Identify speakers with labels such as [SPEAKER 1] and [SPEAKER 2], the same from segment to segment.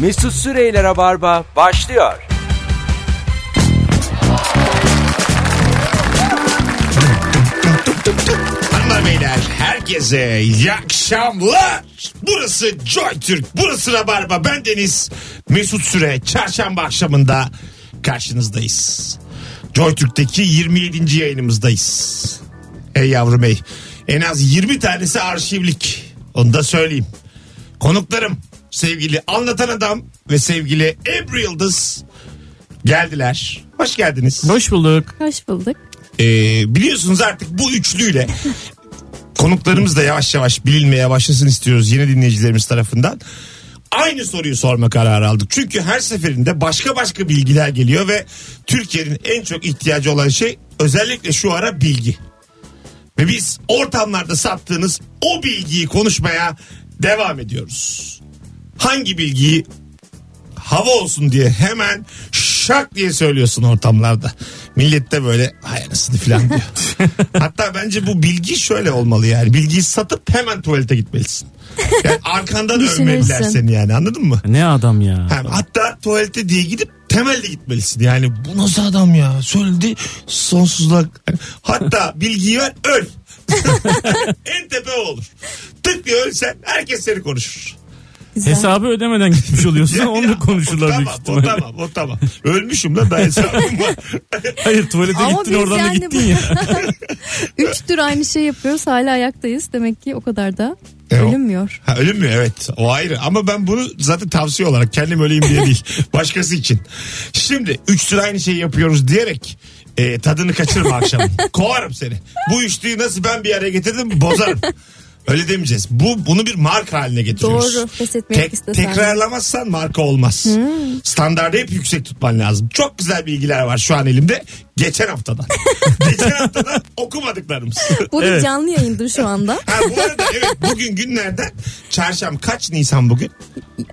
[SPEAKER 1] Mesut Süreyler'e barba başlıyor.
[SPEAKER 2] Hanımlar beyler herkese iyi akşamlar. Burası Joy Türk, burası Rabarba. Ben Deniz Mesut Süre. Çarşamba akşamında karşınızdayız. Joy Türk'teki 27. yayınımızdayız. Ey yavrum ey. En az 20 tanesi arşivlik. Onu da söyleyeyim. Konuklarım sevgili Anlatan Adam ve sevgili Ebru Yıldız geldiler. Hoş geldiniz.
[SPEAKER 3] Hoş bulduk.
[SPEAKER 4] Hoş bulduk.
[SPEAKER 2] Ee, biliyorsunuz artık bu üçlüyle konuklarımız da yavaş yavaş bilinmeye başlasın istiyoruz yeni dinleyicilerimiz tarafından. Aynı soruyu sorma kararı aldık. Çünkü her seferinde başka başka bilgiler geliyor ve Türkiye'nin en çok ihtiyacı olan şey özellikle şu ara bilgi. Ve biz ortamlarda sattığınız o bilgiyi konuşmaya devam ediyoruz. Hangi bilgiyi hava olsun diye hemen şak diye söylüyorsun ortamlarda. Millette böyle hay anasını falan diyor. Hatta bence bu bilgi şöyle olmalı yani. Bilgiyi satıp hemen tuvalete gitmelisin. Yani arkandan
[SPEAKER 4] Düşünürsün.
[SPEAKER 2] övmeliler seni yani anladın mı?
[SPEAKER 3] Ne adam ya.
[SPEAKER 2] Ha, hatta tuvalete diye gidip temelde gitmelisin. Yani bu nasıl adam ya? Söyledi sonsuzluğa. Hatta bilgiyi ver öl. en tepe o olur. Tık diye ölsen herkes seni konuşur.
[SPEAKER 4] Güzel.
[SPEAKER 3] Hesabı ödemeden gitmiş oluyorsun. Onu da
[SPEAKER 2] O
[SPEAKER 3] konuşurlar büyük
[SPEAKER 2] tamam, o
[SPEAKER 3] ihtimalle.
[SPEAKER 2] tamam, o tamam. Ölmüşüm lan daha hesabım var.
[SPEAKER 3] Hayır tuvalete
[SPEAKER 4] Ama
[SPEAKER 3] gittin
[SPEAKER 4] biz
[SPEAKER 3] oradan da
[SPEAKER 4] yani
[SPEAKER 3] gittin
[SPEAKER 4] bu-
[SPEAKER 3] ya.
[SPEAKER 4] Üç tür aynı şey yapıyoruz hala ayaktayız. Demek ki o kadar da
[SPEAKER 2] E, o-
[SPEAKER 4] ölünmüyor.
[SPEAKER 2] Ha, ölüm mü? Evet. O ayrı. Ama ben bunu zaten tavsiye olarak kendim öleyim diye değil. Başkası için. Şimdi üç tür aynı şeyi yapıyoruz diyerek e, tadını kaçırma akşam. Kovarım seni. Bu üçlüyü nasıl ben bir araya getirdim bozarım. Öyle demeyeceğiz. Bu bunu bir marka haline getiriyoruz.
[SPEAKER 4] Doğru. Pes etmek
[SPEAKER 2] Tek-
[SPEAKER 4] istesen.
[SPEAKER 2] tekrarlamazsan marka olmaz.
[SPEAKER 4] Hmm.
[SPEAKER 2] Standardı hep yüksek tutman lazım. Çok güzel bilgiler var şu an elimde. Geçen haftadan. Geçen haftadan okumadıklarımız.
[SPEAKER 4] Bu bir
[SPEAKER 3] Evet.
[SPEAKER 4] canlı yayındır şu anda.
[SPEAKER 2] Ha, bu arada evet bugün günlerden çarşamba kaç Nisan bugün?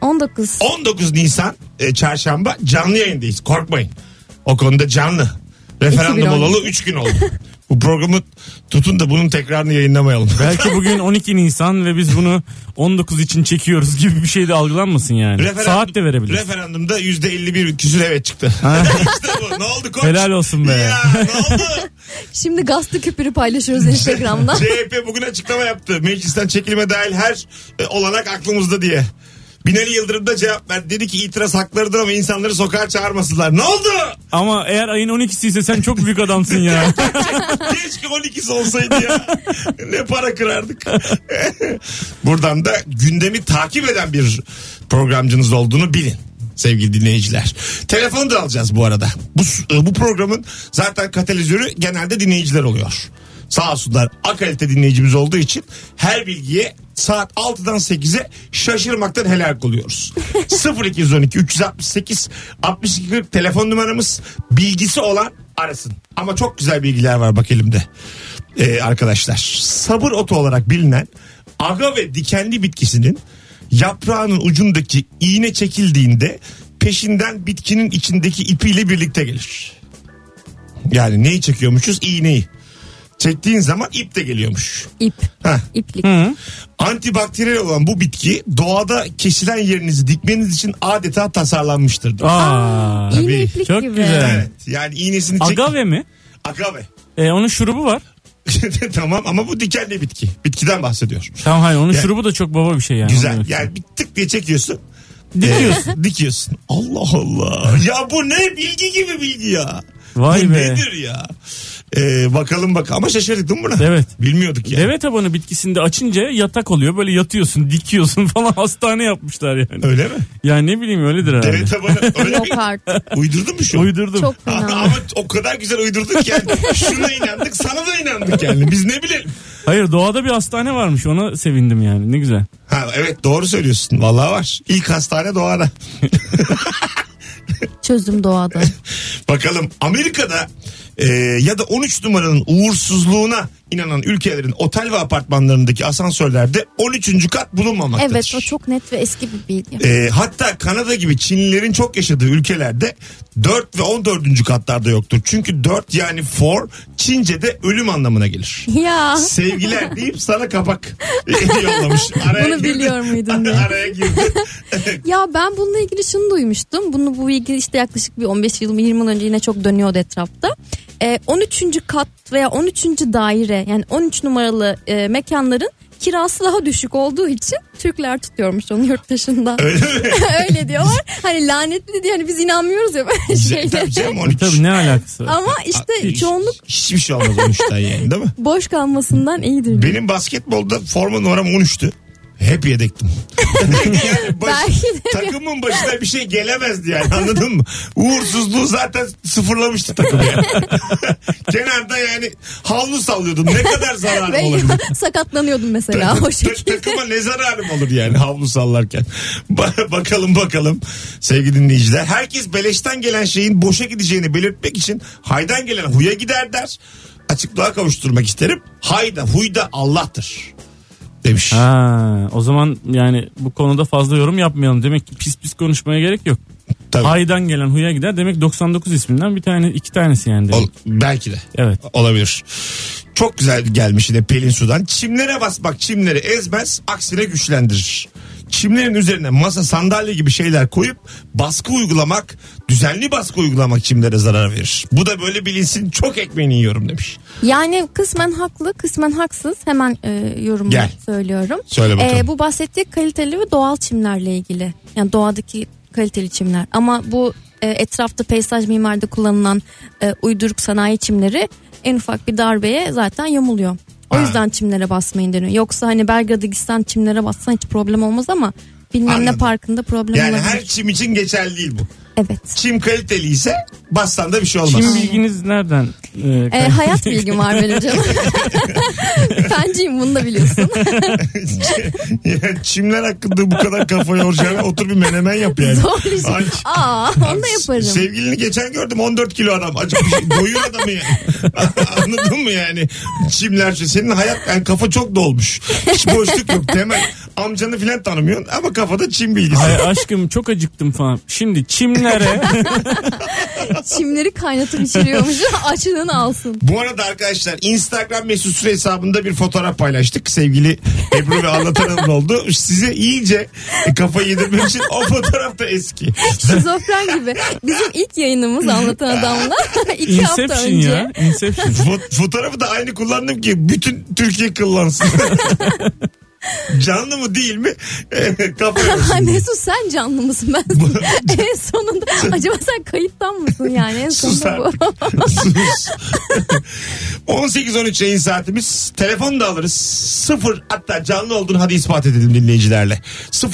[SPEAKER 4] 19.
[SPEAKER 2] 19 Nisan e, çarşamba canlı yayındayız korkmayın. O konuda canlı. Referandum
[SPEAKER 4] 2012.
[SPEAKER 2] olalı 3 gün oldu. bu programı tutun da bunun tekrarını yayınlamayalım.
[SPEAKER 3] Belki bugün 12 Nisan ve biz bunu 19 için çekiyoruz gibi bir şey de algılanmasın yani.
[SPEAKER 2] Referandum-
[SPEAKER 3] Saat de verebiliriz.
[SPEAKER 2] Referandumda %51 küsür evet çıktı. işte bu. Ne oldu koç?
[SPEAKER 3] Helal olsun be.
[SPEAKER 2] Ya ne oldu?
[SPEAKER 4] Şimdi gazlı küpürü paylaşıyoruz Instagram'da.
[SPEAKER 2] CHP bugün açıklama yaptı. Meclisten çekilme dahil her e, olanak aklımızda diye. Binali Yıldırım da cevap verdi. Dedi ki itiraz haklarıdır ama insanları sokağa çağırmasınlar. Ne oldu?
[SPEAKER 3] Ama eğer ayın 12'si ise sen çok büyük adamsın ya.
[SPEAKER 2] Keşke 12'si olsaydı ya. ne para kırardık. Buradan da gündemi takip eden bir programcınız olduğunu bilin sevgili dinleyiciler. Telefonu da alacağız bu arada. Bu, e, bu programın zaten katalizörü genelde dinleyiciler oluyor. Sağ olsunlar A kalite dinleyicimiz olduğu için her bilgiye saat 6'dan 8'e şaşırmaktan helak oluyoruz. 0212 368 62 40 telefon numaramız bilgisi olan arasın. Ama çok güzel bilgiler var bak elimde. Ee, arkadaşlar sabır otu olarak bilinen aga ve dikenli bitkisinin yaprağının ucundaki iğne çekildiğinde peşinden bitkinin içindeki ipiyle birlikte gelir. Yani neyi çekiyormuşuz? İğneyi. Çektiğin zaman ip de geliyormuş.
[SPEAKER 4] İp.
[SPEAKER 2] Heh.
[SPEAKER 4] iplik.
[SPEAKER 2] Antibakteriyel olan bu bitki doğada kesilen yerinizi dikmeniz için adeta tasarlanmıştır. diyor.
[SPEAKER 3] Aa.
[SPEAKER 4] İğne
[SPEAKER 2] tabii.
[SPEAKER 4] iplik
[SPEAKER 3] Çok
[SPEAKER 4] gibi.
[SPEAKER 3] güzel.
[SPEAKER 2] Evet. Yani iğnesini çek.
[SPEAKER 3] Agave mi?
[SPEAKER 2] Agave.
[SPEAKER 3] E, onun şurubu var.
[SPEAKER 2] tamam ama bu dikenli bitki. Bitkiden bahsediyor.
[SPEAKER 3] Tamam hayır onun
[SPEAKER 2] Yani-
[SPEAKER 3] şurubu da çok baba bir şey yani.
[SPEAKER 2] Güzel.
[SPEAKER 3] Onu-
[SPEAKER 2] Yani bir tık diye çekiyorsun.
[SPEAKER 3] Dikiyorsun.
[SPEAKER 2] Ee, dikiyorsun. Allah Allah. Ya bu ne bilgi gibi bilgi ya.
[SPEAKER 3] Vay
[SPEAKER 2] bu
[SPEAKER 3] be.
[SPEAKER 2] nedir ya? Ee, bakalım bak ama şaşırdık değil mi buna?
[SPEAKER 3] Evet.
[SPEAKER 2] Bilmiyorduk ya.
[SPEAKER 3] Deve tabanı bitkisinde açınca yatak oluyor. Böyle yatıyorsun, dikiyorsun falan hastane yapmışlar yani.
[SPEAKER 2] Öyle mi?
[SPEAKER 3] Yani ne bileyim öyledir herhalde.
[SPEAKER 2] Deve tabanı öyle
[SPEAKER 4] Yok
[SPEAKER 2] mi?
[SPEAKER 4] artık.
[SPEAKER 2] Uydurdun mu şu? an?
[SPEAKER 3] Uydurdum.
[SPEAKER 4] Çok
[SPEAKER 2] Ama
[SPEAKER 4] fena.
[SPEAKER 2] o kadar güzel uydurduk ki yani. Şuna inandık sana da inandık yani. Biz ne bilelim.
[SPEAKER 3] Hayır doğada bir hastane varmış ona sevindim yani ne güzel.
[SPEAKER 2] Ha, evet doğru söylüyorsun. Vallahi var. İlk hastane doğada.
[SPEAKER 4] Çözüm doğada.
[SPEAKER 2] Bakalım Amerika'da Ee, ya da 13 numaranın uğursuzluğuna inanan ülkelerin otel ve apartmanlarındaki asansörlerde 13. kat bulunmamaktadır.
[SPEAKER 4] Evet o çok net ve eski bir bilgi.
[SPEAKER 2] Ee, hatta Kanada gibi Çinlilerin çok yaşadığı ülkelerde 4 ve 14. katlarda yoktur. Çünkü 4 yani 4 Çince'de ölüm anlamına gelir.
[SPEAKER 4] ya
[SPEAKER 2] Sevgiler deyip sana kapak yollamış. Araya
[SPEAKER 4] Bunu biliyor muydun diye.
[SPEAKER 2] Araya girdi.
[SPEAKER 4] ya ben bununla ilgili şunu duymuştum. Bunu bu bilgi işte yaklaşık bir 15 yıl mı 20 yıl önce yine çok dönüyordu etrafta. Ee, 13. kat veya 13. daire yani 13 numaralı e, mekanların kirası daha düşük olduğu için Türkler tutuyormuş onu yurt dışında.
[SPEAKER 2] Öyle mi?
[SPEAKER 4] Öyle diyorlar. Hani lanetli diye hani biz inanmıyoruz ya böyle
[SPEAKER 2] Şey,
[SPEAKER 4] şeylere.
[SPEAKER 2] Tabii canım 13.
[SPEAKER 3] Tabii ne alakası? var?
[SPEAKER 4] Ama işte
[SPEAKER 2] Hiç-
[SPEAKER 4] çoğunluk
[SPEAKER 2] Hiçbir şey olmaz 13'ten yani değil mi?
[SPEAKER 4] boş kalmasından iyidir.
[SPEAKER 2] Benim basketbolda forma numaram 13'tü. Hep yedektim. yani baş-
[SPEAKER 4] Belki de.
[SPEAKER 2] takımın başına bir şey gelemezdi yani anladın mı? Uğursuzluğu zaten sıfırlamıştı takım yani. Kenarda yani havlu sallıyordun. Ne kadar zararı
[SPEAKER 4] Ve
[SPEAKER 2] olabilir?
[SPEAKER 4] sakatlanıyordum mesela o
[SPEAKER 2] Ta-
[SPEAKER 4] şekilde.
[SPEAKER 2] takıma ne zararım olur yani havlu sallarken. Ba- bakalım bakalım sevgili dinleyiciler. Herkes beleşten gelen şeyin boşa gideceğini belirtmek için haydan gelen huya gider der. Açıklığa kavuşturmak isterim. Hayda huyda Allah'tır demiş.
[SPEAKER 3] Ha, o zaman yani bu konuda fazla yorum yapmayalım. Demek ki pis pis konuşmaya gerek yok.
[SPEAKER 2] Tabii.
[SPEAKER 3] Haydan gelen huya gider. Demek 99 isminden bir tane iki tanesi yani. demek.
[SPEAKER 2] Ol- belki de.
[SPEAKER 3] Evet.
[SPEAKER 2] Olabilir. Çok güzel gelmiş yine Pelin Su'dan. Çimlere basmak çimleri ezmez aksine güçlendirir. Çimlerin üzerine masa sandalye gibi şeyler koyup baskı uygulamak düzenli baskı uygulamak çimlere zarar verir. Bu da böyle bilinsin çok ekmeğini yiyorum demiş.
[SPEAKER 4] Yani kısmen haklı kısmen haksız hemen e, yorumu
[SPEAKER 2] Gel.
[SPEAKER 4] söylüyorum.
[SPEAKER 2] Söyle bakalım.
[SPEAKER 4] E, bu bahsettiği kaliteli ve doğal çimlerle ilgili. Yani doğadaki kaliteli çimler. Ama bu e, etrafta peyzaj mimarda kullanılan e, uyduruk sanayi çimleri en ufak bir darbeye zaten yamuluyor. O
[SPEAKER 2] Ha.
[SPEAKER 4] yüzden çimlere basmayın deniyor. Yoksa hani Belgrad'a gitsen çimlere bassan hiç problem olmaz ama bilmem ne
[SPEAKER 2] Anladım.
[SPEAKER 4] parkında problem
[SPEAKER 2] yani
[SPEAKER 4] olabilir.
[SPEAKER 2] her çim için geçerli değil bu.
[SPEAKER 4] Evet.
[SPEAKER 2] Çim kaliteliyse bastan da bir şey olmaz.
[SPEAKER 3] Kim bilginiz nereden? e,
[SPEAKER 4] E, hayat bilgim var benim canım. Fenciyim bunu da biliyorsun.
[SPEAKER 2] Yani çimler hakkında bu kadar kafa yoracağına otur bir menemen yap yani.
[SPEAKER 4] Zor bir şey.
[SPEAKER 2] Ay, şey-
[SPEAKER 4] Aa onu da yaparım.
[SPEAKER 2] Sevgilini geçen gördüm 14 kilo adam. Acık bir şey, doyur adamı yani. Anladın mı yani? Çimler şey. Senin hayat yani kafa çok dolmuş. Hiç boşluk yok. Temel amcanı filan tanımıyorsun ama kafada çim bilgisi.
[SPEAKER 3] Ay aşkım çok acıktım falan. Şimdi çimlere
[SPEAKER 4] Çimleri kaynatıp içiriyormuş. Açlığını alsın.
[SPEAKER 2] Bu arada arkadaşlar Instagram mesut süre hesabında bir fotoğraf paylaştık. Sevgili Ebru ve anlatan hanım oldu. Size iyice kafayı yedirmek için o fotoğraf da eski.
[SPEAKER 4] Şizofren gibi. Bizim ilk yayınımız anlatan adamla iki hafta
[SPEAKER 3] Inception
[SPEAKER 4] önce.
[SPEAKER 3] ya. Inception.
[SPEAKER 2] Fo- fotoğrafı da aynı kullandım ki bütün Türkiye kullansın. Canlı mı değil mi? Kafa
[SPEAKER 4] Ay
[SPEAKER 2] yorsun.
[SPEAKER 4] Mesut sen canlı mısın ben? en sonunda acaba sen kayıttan mısın yani en
[SPEAKER 2] Sus
[SPEAKER 4] sonunda bu.
[SPEAKER 2] Sus. 18-13 yayın saatimiz. Telefon da alırız. Sıfır hatta canlı olduğunu hadi ispat edelim dinleyicilerle.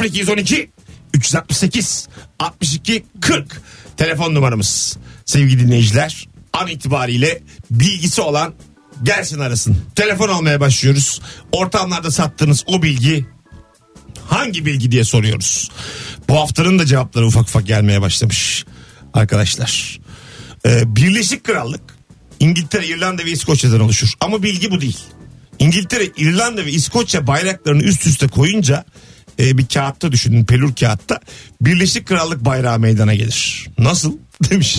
[SPEAKER 2] 0212 368 62 40 telefon numaramız. Sevgili dinleyiciler an itibariyle bilgisi olan gelsin arasın. Telefon almaya başlıyoruz. Ortamlarda sattığınız o bilgi hangi bilgi diye soruyoruz. Bu haftanın da cevapları ufak ufak gelmeye başlamış arkadaşlar. Ee, Birleşik Krallık İngiltere, İrlanda ve İskoçya'dan oluşur. Ama bilgi bu değil. İngiltere, İrlanda ve İskoçya bayraklarını üst üste koyunca e, bir kağıtta düşünün pelur kağıtta Birleşik Krallık bayrağı meydana gelir. Nasıl? demiş.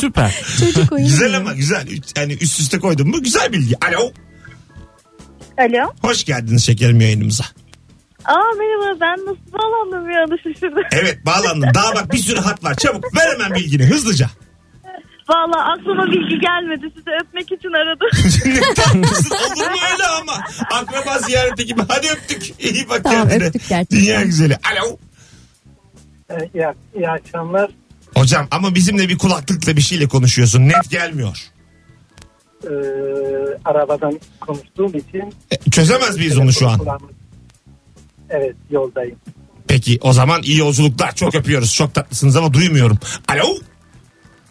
[SPEAKER 3] Süper.
[SPEAKER 4] Çocuk oyunu.
[SPEAKER 2] güzel ama güzel. Yani üst üste koydum mu güzel bilgi. Alo.
[SPEAKER 5] Alo.
[SPEAKER 2] Hoş geldiniz şekerim yayınımıza.
[SPEAKER 5] Aa merhaba ben nasıl bağlandım bir anda şaşırdım.
[SPEAKER 2] Evet bağlandım. Daha bak bir sürü hat var. Çabuk ver hemen bilgini hızlıca.
[SPEAKER 5] Valla aklıma bilgi gelmedi sizi öpmek için aradım.
[SPEAKER 2] Ne tatlısın olur mu öyle ama. Akraba ziyareti gibi. Hadi öptük. İyi bak
[SPEAKER 4] Tamam,
[SPEAKER 2] kendine.
[SPEAKER 4] öptük gerçekten.
[SPEAKER 2] Dünya güzeli. Alo.
[SPEAKER 6] Evet, iyi, ak- iyi akşamlar.
[SPEAKER 2] Hocam ama bizimle bir kulaklıkla bir şeyle konuşuyorsun. Net gelmiyor.
[SPEAKER 6] Ee, arabadan konuştuğum için.
[SPEAKER 2] E, Çözemez miyiz onu şu an?
[SPEAKER 6] Kulağımı- Evet yoldayım.
[SPEAKER 2] Peki o zaman iyi yolculuklar. Çok öpüyoruz. Çok tatlısınız ama duymuyorum. Alo.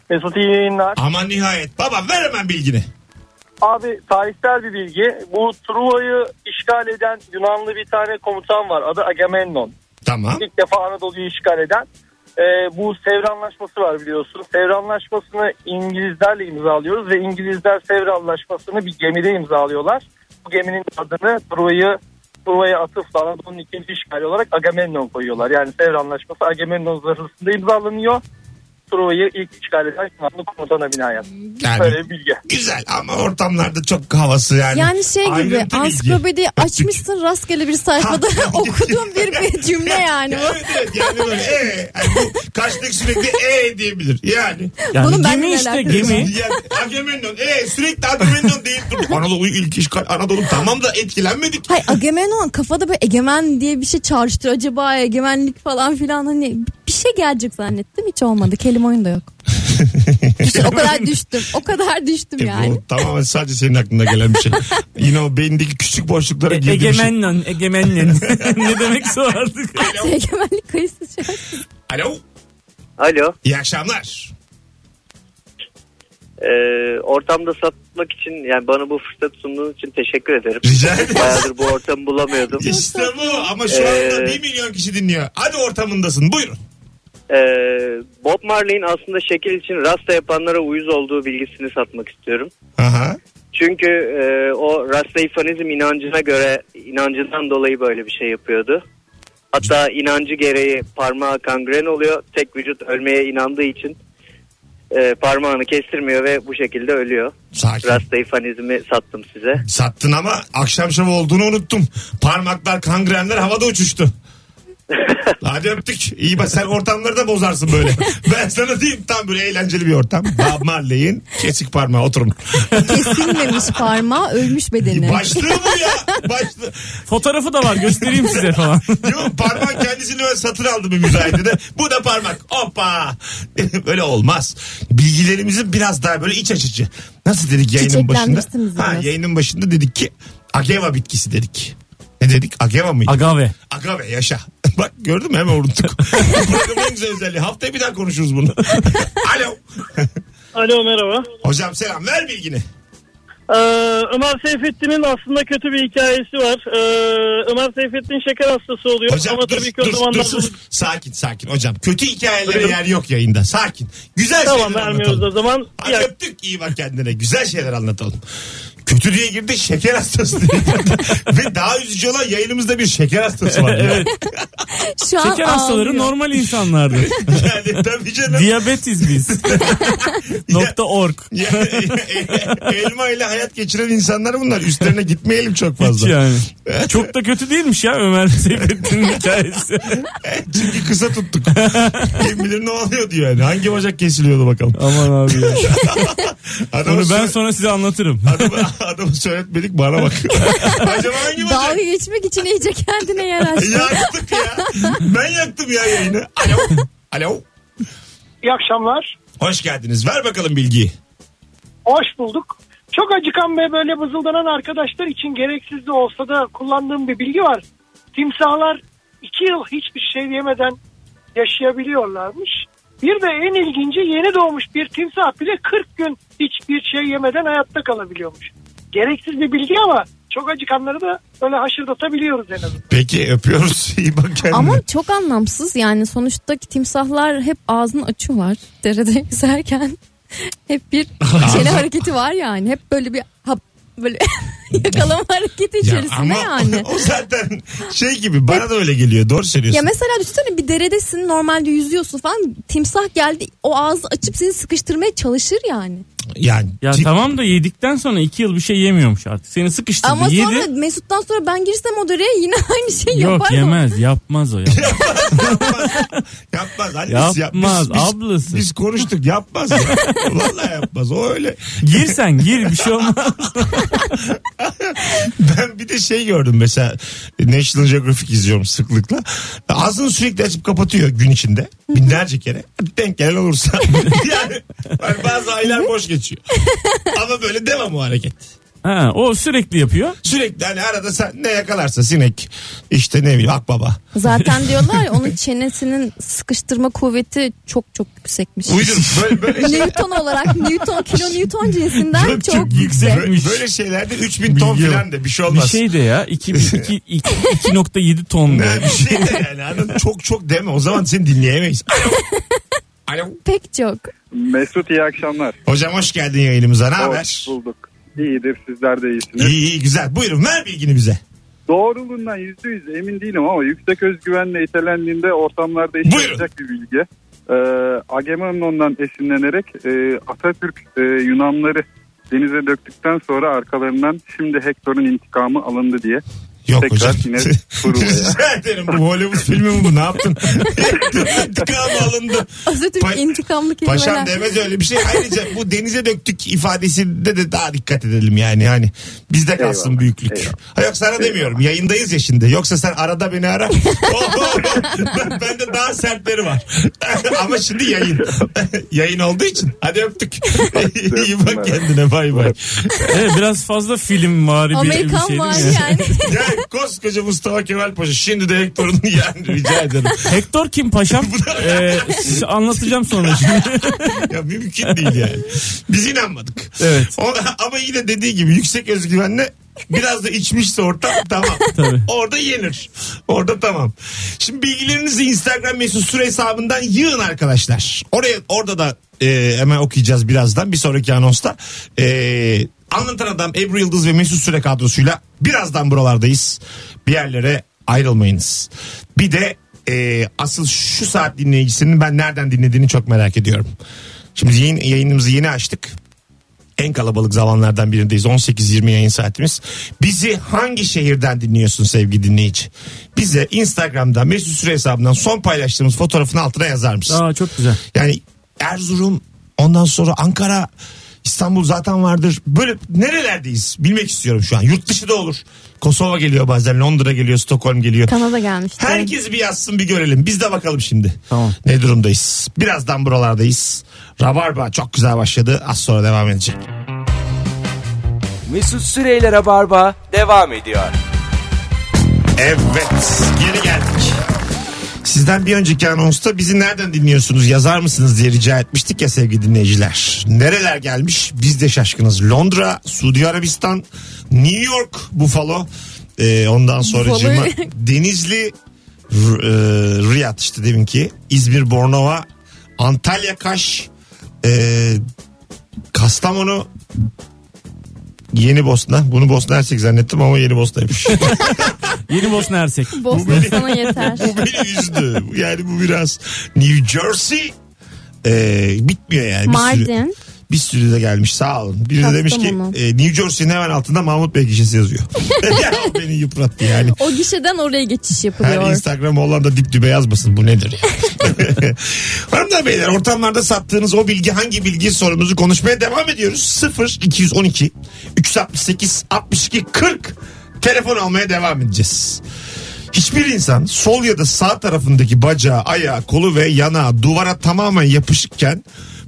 [SPEAKER 6] Mesut iyi yayınlar.
[SPEAKER 2] Aman nihayet. Baba ver hemen bilgini.
[SPEAKER 6] Abi tarihsel bir bilgi. Bu Truva'yı işgal eden Yunanlı bir tane komutan var. Adı Agamemnon.
[SPEAKER 2] Tamam.
[SPEAKER 6] İlk defa Anadolu'yu işgal eden. e, bu Sevr Anlaşması var biliyorsun. Sevr Anlaşması'nı İngilizlerle imzalıyoruz ve İngilizler Sevr Anlaşması'nı bir gemide imzalıyorlar. Bu geminin adını Truva'yı Truva'ya atıfla Anadolu'nun ikinci işgali olarak Agamemnon koyuyorlar. Yani Sevr Anlaşması Agamemnon zırhlısında imzalanıyor. Truva'yı ilk işgal eden Yunanlı komutana binaen.
[SPEAKER 2] Yani
[SPEAKER 6] Böyle bir bilgi.
[SPEAKER 2] güzel ama ortamlarda çok havası yani.
[SPEAKER 4] Yani şey gibi
[SPEAKER 2] Ayrıntı bilgi.
[SPEAKER 4] ansiklopedi açmışsın rastgele bir sayfada
[SPEAKER 2] Ha.
[SPEAKER 4] okuduğum bir, bir cümle yani bu.
[SPEAKER 2] Evet evet yani böyle e, yani bu karşıdaki sürekli e diyebilir yani.
[SPEAKER 3] Yani
[SPEAKER 4] Bunun benimle
[SPEAKER 3] gemi işte
[SPEAKER 4] alakası
[SPEAKER 3] gemi.
[SPEAKER 2] Yani Agamemnon e sürekli Agamemnon deyip durduk. Anadolu ilk işgal Anadolu tamam da etkilenmedik. E,
[SPEAKER 4] Hayır Agamemnon kafada böyle egemen diye bir şey çağrıştır. Acaba egemenlik falan filan hani bir şey gelecek zannettim. Hiç olmadı. Kelime oyunu da yok. Düşün, o kadar düştüm. O kadar düştüm
[SPEAKER 2] E,
[SPEAKER 4] yani.
[SPEAKER 2] Bu tamamen sadece senin aklına gelen bir şey. Yine o beyindeki küçük boşluklara
[SPEAKER 4] E,
[SPEAKER 2] girdi bir şey.
[SPEAKER 3] E, Egemenlen, egemenlen. ne demekse o artık.
[SPEAKER 4] Egemenlik kayısı şey.
[SPEAKER 2] Alo.
[SPEAKER 7] Alo.
[SPEAKER 2] İyi akşamlar.
[SPEAKER 7] Ee, ortamda satmak için yani bana bu fırsat sunduğun için teşekkür ederim.
[SPEAKER 2] Rica ederim.
[SPEAKER 7] Bayağıdır bu ortamı bulamıyordum.
[SPEAKER 2] İşte bu ama şu
[SPEAKER 7] Ee,
[SPEAKER 2] anda 1 milyon kişi dinliyor. Hadi ortamındasın buyurun.
[SPEAKER 7] Ee, Bob Marley'in aslında şekil için rasta yapanlara uyuz olduğu bilgisini satmak istiyorum.
[SPEAKER 2] Aha.
[SPEAKER 7] Çünkü e, o rastayfanizm inancına göre inancından dolayı böyle bir şey yapıyordu. Hatta inancı gereği parmağı kangren oluyor. Tek vücut ölmeye inandığı için e, parmağını kestirmiyor ve bu şekilde ölüyor.
[SPEAKER 2] Sakin.
[SPEAKER 7] Rastayfanizmi sattım size.
[SPEAKER 2] Sattın ama akşam şovu olduğunu unuttum. Parmaklar, kangrenler havada uçuştu. Hadi öptük. İyi bak sen ortamları da bozarsın böyle. Ben sana diyeyim tam böyle eğlenceli bir ortam. Bob Marley'in kesik parmağı oturun.
[SPEAKER 4] Kesilmemiş parmağı ölmüş bedeni.
[SPEAKER 2] Başlığı bu ya. Başlığı.
[SPEAKER 3] Fotoğrafı da var göstereyim size falan.
[SPEAKER 2] Yok parmak kendisini ben satın aldım bir müzayedede. Bu da parmak. Hoppa. böyle olmaz. Bilgilerimizi biraz daha böyle iç açıcı. Nasıl dedik yayının başında?
[SPEAKER 4] Çiçeklendirsiniz
[SPEAKER 2] Ha,
[SPEAKER 4] biraz.
[SPEAKER 2] yayının başında dedik ki ageva bitkisi dedik. Ne dedik? Ageva mıydı?
[SPEAKER 3] Agave.
[SPEAKER 2] Agave yaşa. Bak gördün mü hemen unuttuk. Programın en güzel özelliği. Haftaya bir daha konuşuruz bunu. Alo.
[SPEAKER 8] Alo merhaba.
[SPEAKER 2] Hocam selam ver bilgini.
[SPEAKER 8] Ee, Ömer Seyfettin'in aslında kötü bir hikayesi var. Ee, Ömer Seyfettin şeker hastası oluyor.
[SPEAKER 2] Hocam
[SPEAKER 8] Ama
[SPEAKER 2] dur,
[SPEAKER 8] tabii ki o
[SPEAKER 2] dur, dur,
[SPEAKER 8] zamanlar...
[SPEAKER 2] sus. Sakin sakin hocam. Kötü hikayelere yer yok yayında. Sakin. Güzel
[SPEAKER 8] Tamam
[SPEAKER 2] şeyler
[SPEAKER 8] vermiyoruz
[SPEAKER 2] anlatalım.
[SPEAKER 8] o zaman.
[SPEAKER 2] Hadi
[SPEAKER 8] Ya,
[SPEAKER 2] öptük iyi bak kendine. Güzel şeyler anlatalım. Kötü diye girdi şeker hastası diye girdi. Ve daha üzücü olan yayınımızda bir şeker hastası var. Ya.
[SPEAKER 4] Şu an
[SPEAKER 3] Şeker hastaları
[SPEAKER 4] ağlıyor.
[SPEAKER 3] normal insanlardır.
[SPEAKER 2] yani şey tabii canım.
[SPEAKER 3] Diyabetiz biz. Nokta org.
[SPEAKER 2] Ya- e, elma ile hayat geçiren insanlar bunlar. Üstlerine gitmeyelim çok
[SPEAKER 3] Hiç
[SPEAKER 2] fazla.
[SPEAKER 3] yani. Çok da kötü değilmiş ya Ömer Seyfettin'in hikayesi.
[SPEAKER 2] Çünkü kısa tuttuk. Kim bilir ne oluyordu yani. Hangi bacak kesiliyordu bakalım.
[SPEAKER 3] Aman abi ya.
[SPEAKER 2] Adamı,
[SPEAKER 3] Onu ben
[SPEAKER 2] ben...
[SPEAKER 3] sonra size anlatırım.
[SPEAKER 2] adamı, adamı söyletmedik bana bak. Acaba hangi bacak?
[SPEAKER 4] Dalga geçmek için iyice kendine yer açtı.
[SPEAKER 2] Yaktık ya. Ben yaktım ya yayını. Alo. Alo.
[SPEAKER 9] İyi akşamlar.
[SPEAKER 2] Hoş geldiniz. Ver bakalım bilgiyi.
[SPEAKER 9] Hoş bulduk. Çok acıkan ve böyle vızıldanan arkadaşlar için gereksiz de olsa da kullandığım bir bilgi var. Timsahlar iki yıl hiçbir şey yemeden yaşayabiliyorlarmış. Bir de en ilginci yeni doğmuş bir timsah bile 40 gün hiçbir şey yemeden hayatta kalabiliyormuş. Gereksiz bir bilgi ama çok acıkanları da öyle haşırdatabiliyoruz en azından.
[SPEAKER 2] Peki öpüyoruz. İyi bak kendine.
[SPEAKER 4] Ama çok anlamsız yani sonuçta timsahlar hep ağzını açıyorlar derede yüzerken. Hep bir şeyle hareketi var yani. Hep böyle bir hap böyle yakalama hareketi
[SPEAKER 2] Ya
[SPEAKER 4] içerisinde
[SPEAKER 2] ama
[SPEAKER 4] yani.
[SPEAKER 2] o zaten şey gibi bana da öyle geliyor. Doğru söylüyorsun.
[SPEAKER 4] Ya mesela düşünsene bir deredesin normalde yüzüyorsun falan timsah geldi o ağzı açıp seni sıkıştırmaya çalışır yani.
[SPEAKER 2] yani
[SPEAKER 3] Ya
[SPEAKER 2] tip-
[SPEAKER 3] tamam da yedikten sonra iki yıl bir şey yemiyormuş artık. Seni sıkıştırdı
[SPEAKER 4] Ama
[SPEAKER 3] yedi.
[SPEAKER 4] sonra Mesut'tan sonra ben girsem o dereye yine aynı şeyi
[SPEAKER 3] Yok
[SPEAKER 4] yapar
[SPEAKER 3] yemez yapmaz o yapmaz.
[SPEAKER 2] yapmaz. yapmaz. Hani biz- ya-
[SPEAKER 3] Yapmaz,
[SPEAKER 2] biz, biz-
[SPEAKER 3] ablası.
[SPEAKER 2] Biz konuştuk yapmaz ya. Vallahi yapmaz. O öyle.
[SPEAKER 3] gir sen gir bir şey olmaz.
[SPEAKER 2] Ben bir de şey gördüm mesela National Geographic izliyorum sıklıkla. Ağzını sürekli açıp kapatıyor gün içinde. Binlerce kere. Denk gelen olursa. yani, hani bazı aylar boş geçiyor. Ama böyle devam o hareket.
[SPEAKER 3] Ha, o sürekli yapıyor.
[SPEAKER 2] Sürekli hani arada sen ne yakalarsa sinek işte ne bileyim akbaba.
[SPEAKER 4] Zaten diyorlar ya onun çenesinin sıkıştırma kuvveti çok çok yüksekmiş.
[SPEAKER 2] Uydur böyle, böyle şey.
[SPEAKER 4] Newton olarak Newton kilo Newton cinsinden
[SPEAKER 2] Çok,
[SPEAKER 4] çok,
[SPEAKER 2] çok
[SPEAKER 4] yüksek.
[SPEAKER 3] Yüksekmiş.
[SPEAKER 2] Böyle şeylerde 3000 ton
[SPEAKER 3] Bilgi
[SPEAKER 2] filan
[SPEAKER 3] yok.
[SPEAKER 2] da bir şey
[SPEAKER 3] Bir
[SPEAKER 2] olmaz.
[SPEAKER 3] şey de ya iki- iki- iki- 2.7 ton
[SPEAKER 2] Ha,
[SPEAKER 3] de.
[SPEAKER 2] bir şey de yani anladın mı? çok çok deme o zaman seni dinleyemeyiz. Alo. Alo.
[SPEAKER 4] Pek çok.
[SPEAKER 6] Mesut iyi akşamlar.
[SPEAKER 2] Hocam hoş geldin yayınımıza ne haber?
[SPEAKER 6] Hoş bulduk. İyidir sizler de iyisiniz.
[SPEAKER 2] İyi iyi güzel buyurun ver bilgini bize.
[SPEAKER 6] Doğruluğundan yüzde yüz emin değilim ama yüksek özgüvenle itelendiğinde ortamlarda işe
[SPEAKER 2] Buyurun.
[SPEAKER 6] yarayacak bir bilgi. Ee, Agamemnon'dan esinlenerek e, Atatürk e, Yunanları denize döktükten sonra arkalarından şimdi Hector'un intikamı alındı diye.
[SPEAKER 2] Yok
[SPEAKER 6] Tekrar
[SPEAKER 2] hocam.
[SPEAKER 6] yine kuruluyor.
[SPEAKER 2] Rica ederim bu Hollywood filmi mi bu ne yaptın? İntikamı alındı.
[SPEAKER 4] Atatürk
[SPEAKER 2] Pa-
[SPEAKER 4] intikamlı kelimeler.
[SPEAKER 2] Paşam demez öyle bir şey. Ayrıca bu denize döktük ifadesinde de daha dikkat edelim yani. Yani bizde kalsın
[SPEAKER 6] Eyvallah,
[SPEAKER 2] büyüklük.
[SPEAKER 6] eyvallah.
[SPEAKER 2] Ha yok sana demiyorum. Yayındayız ya şimdi. Yoksa sen arada beni ara. Oho, ben- Bende daha sertleri var. Ama şimdi yayın. yayın olduğu için. Hadi öptük. İyi bak kendine bay bay.
[SPEAKER 3] Evet, biraz fazla film var bir, bir şey
[SPEAKER 4] Amerikan
[SPEAKER 3] değil
[SPEAKER 4] var
[SPEAKER 3] mi?
[SPEAKER 4] yani.
[SPEAKER 2] Ya koskoca Mustafa Kemal Paşa şimdi de Hector'un yani rica ederim.
[SPEAKER 3] Hector kim paşam? Ee, size anlatacağım sonra şimdi.
[SPEAKER 2] Ya mümkün değil yani. Biz inanmadık.
[SPEAKER 3] Evet.
[SPEAKER 2] Ona, ama yine dediği gibi yüksek özgüvenle biraz da içmişse ortam tamam.
[SPEAKER 3] Tabii.
[SPEAKER 2] Orada yenir. Orada tamam. Şimdi bilgilerinizi Instagram mesut süre hesabından yığın arkadaşlar. Oraya orada da e, hemen okuyacağız birazdan bir sonraki anonsta. E, Anlatan Adam Ebru Yıldız ve Mesut Süre kadrosuyla birazdan buralardayız. Bir yerlere ayrılmayınız. Bir de e, asıl şu saat dinleyicisinin ben nereden dinlediğini çok merak ediyorum. Şimdi yayın, yayınımızı yeni açtık en kalabalık zamanlardan birindeyiz. 18-20 yayın saatimiz. Bizi hangi şehirden dinliyorsun sevgili dinleyici? Bize Instagram'dan Mesut Süre hesabından son paylaştığımız fotoğrafın altına yazar mısın?
[SPEAKER 3] Aa çok güzel.
[SPEAKER 2] Yani Erzurum ondan sonra Ankara İstanbul zaten vardır. Böyle nerelerdeyiz bilmek istiyorum şu an. Yurt dışı da olur. Kosova geliyor bazen Londra geliyor Stockholm geliyor.
[SPEAKER 4] Kanada gelmişti.
[SPEAKER 2] Herkes bir yazsın bir görelim. Biz de bakalım şimdi.
[SPEAKER 3] Tamam.
[SPEAKER 2] Ne durumdayız? Birazdan buralardayız. Rabarba çok güzel başladı. Az sonra devam edecek.
[SPEAKER 1] Mesut Süreyler'e barba devam ediyor.
[SPEAKER 2] Evet geri geldik. Sizden bir önceki anonsta bizi nereden dinliyorsunuz yazar mısınız diye rica etmiştik ya sevgili dinleyiciler. Nereler gelmiş biz de şaşkınız. Londra, Suudi Arabistan, New York, Buffalo. Ee, ondan sonra
[SPEAKER 4] Buffalo'yu-
[SPEAKER 2] Denizli, R- e, Riyad işte deminki. İzmir, Bornova, Antalya, Kaş, e, Kastamonu, Yeni Bosna. Bunu Bosna Hersek zannettim ama Yeni Bosna'ymış.
[SPEAKER 3] Yeni Bosna Hersek.
[SPEAKER 4] Bosna sana yeter.
[SPEAKER 2] bu beni üzdü. Yani bu biraz New Jersey Ee, bitmiyor yani. Bir Sürü,
[SPEAKER 4] Mardin.
[SPEAKER 2] bir sürü de gelmiş sağ olun. Biri de demiş ki
[SPEAKER 4] Kastamonu.
[SPEAKER 2] e, New Jersey'nin hemen altında Mahmut Bey gişesi yazıyor. ya, o beni yıprattı yani.
[SPEAKER 4] O gişeden oraya
[SPEAKER 2] Her
[SPEAKER 4] geçiş yapılıyor.
[SPEAKER 2] Instagram Hollanda dip dübe yazmasın bu nedir ya. Hanımlar beyler ortamlarda sattığınız o bilgi hangi bilgi sorumuzu konuşmaya devam ediyoruz. 0 212 368 62 40 telefon almaya devam edeceğiz. Hiçbir insan sol ya da sağ tarafındaki bacağı, ayağı, kolu ve yanağı duvara tamamen yapışıkken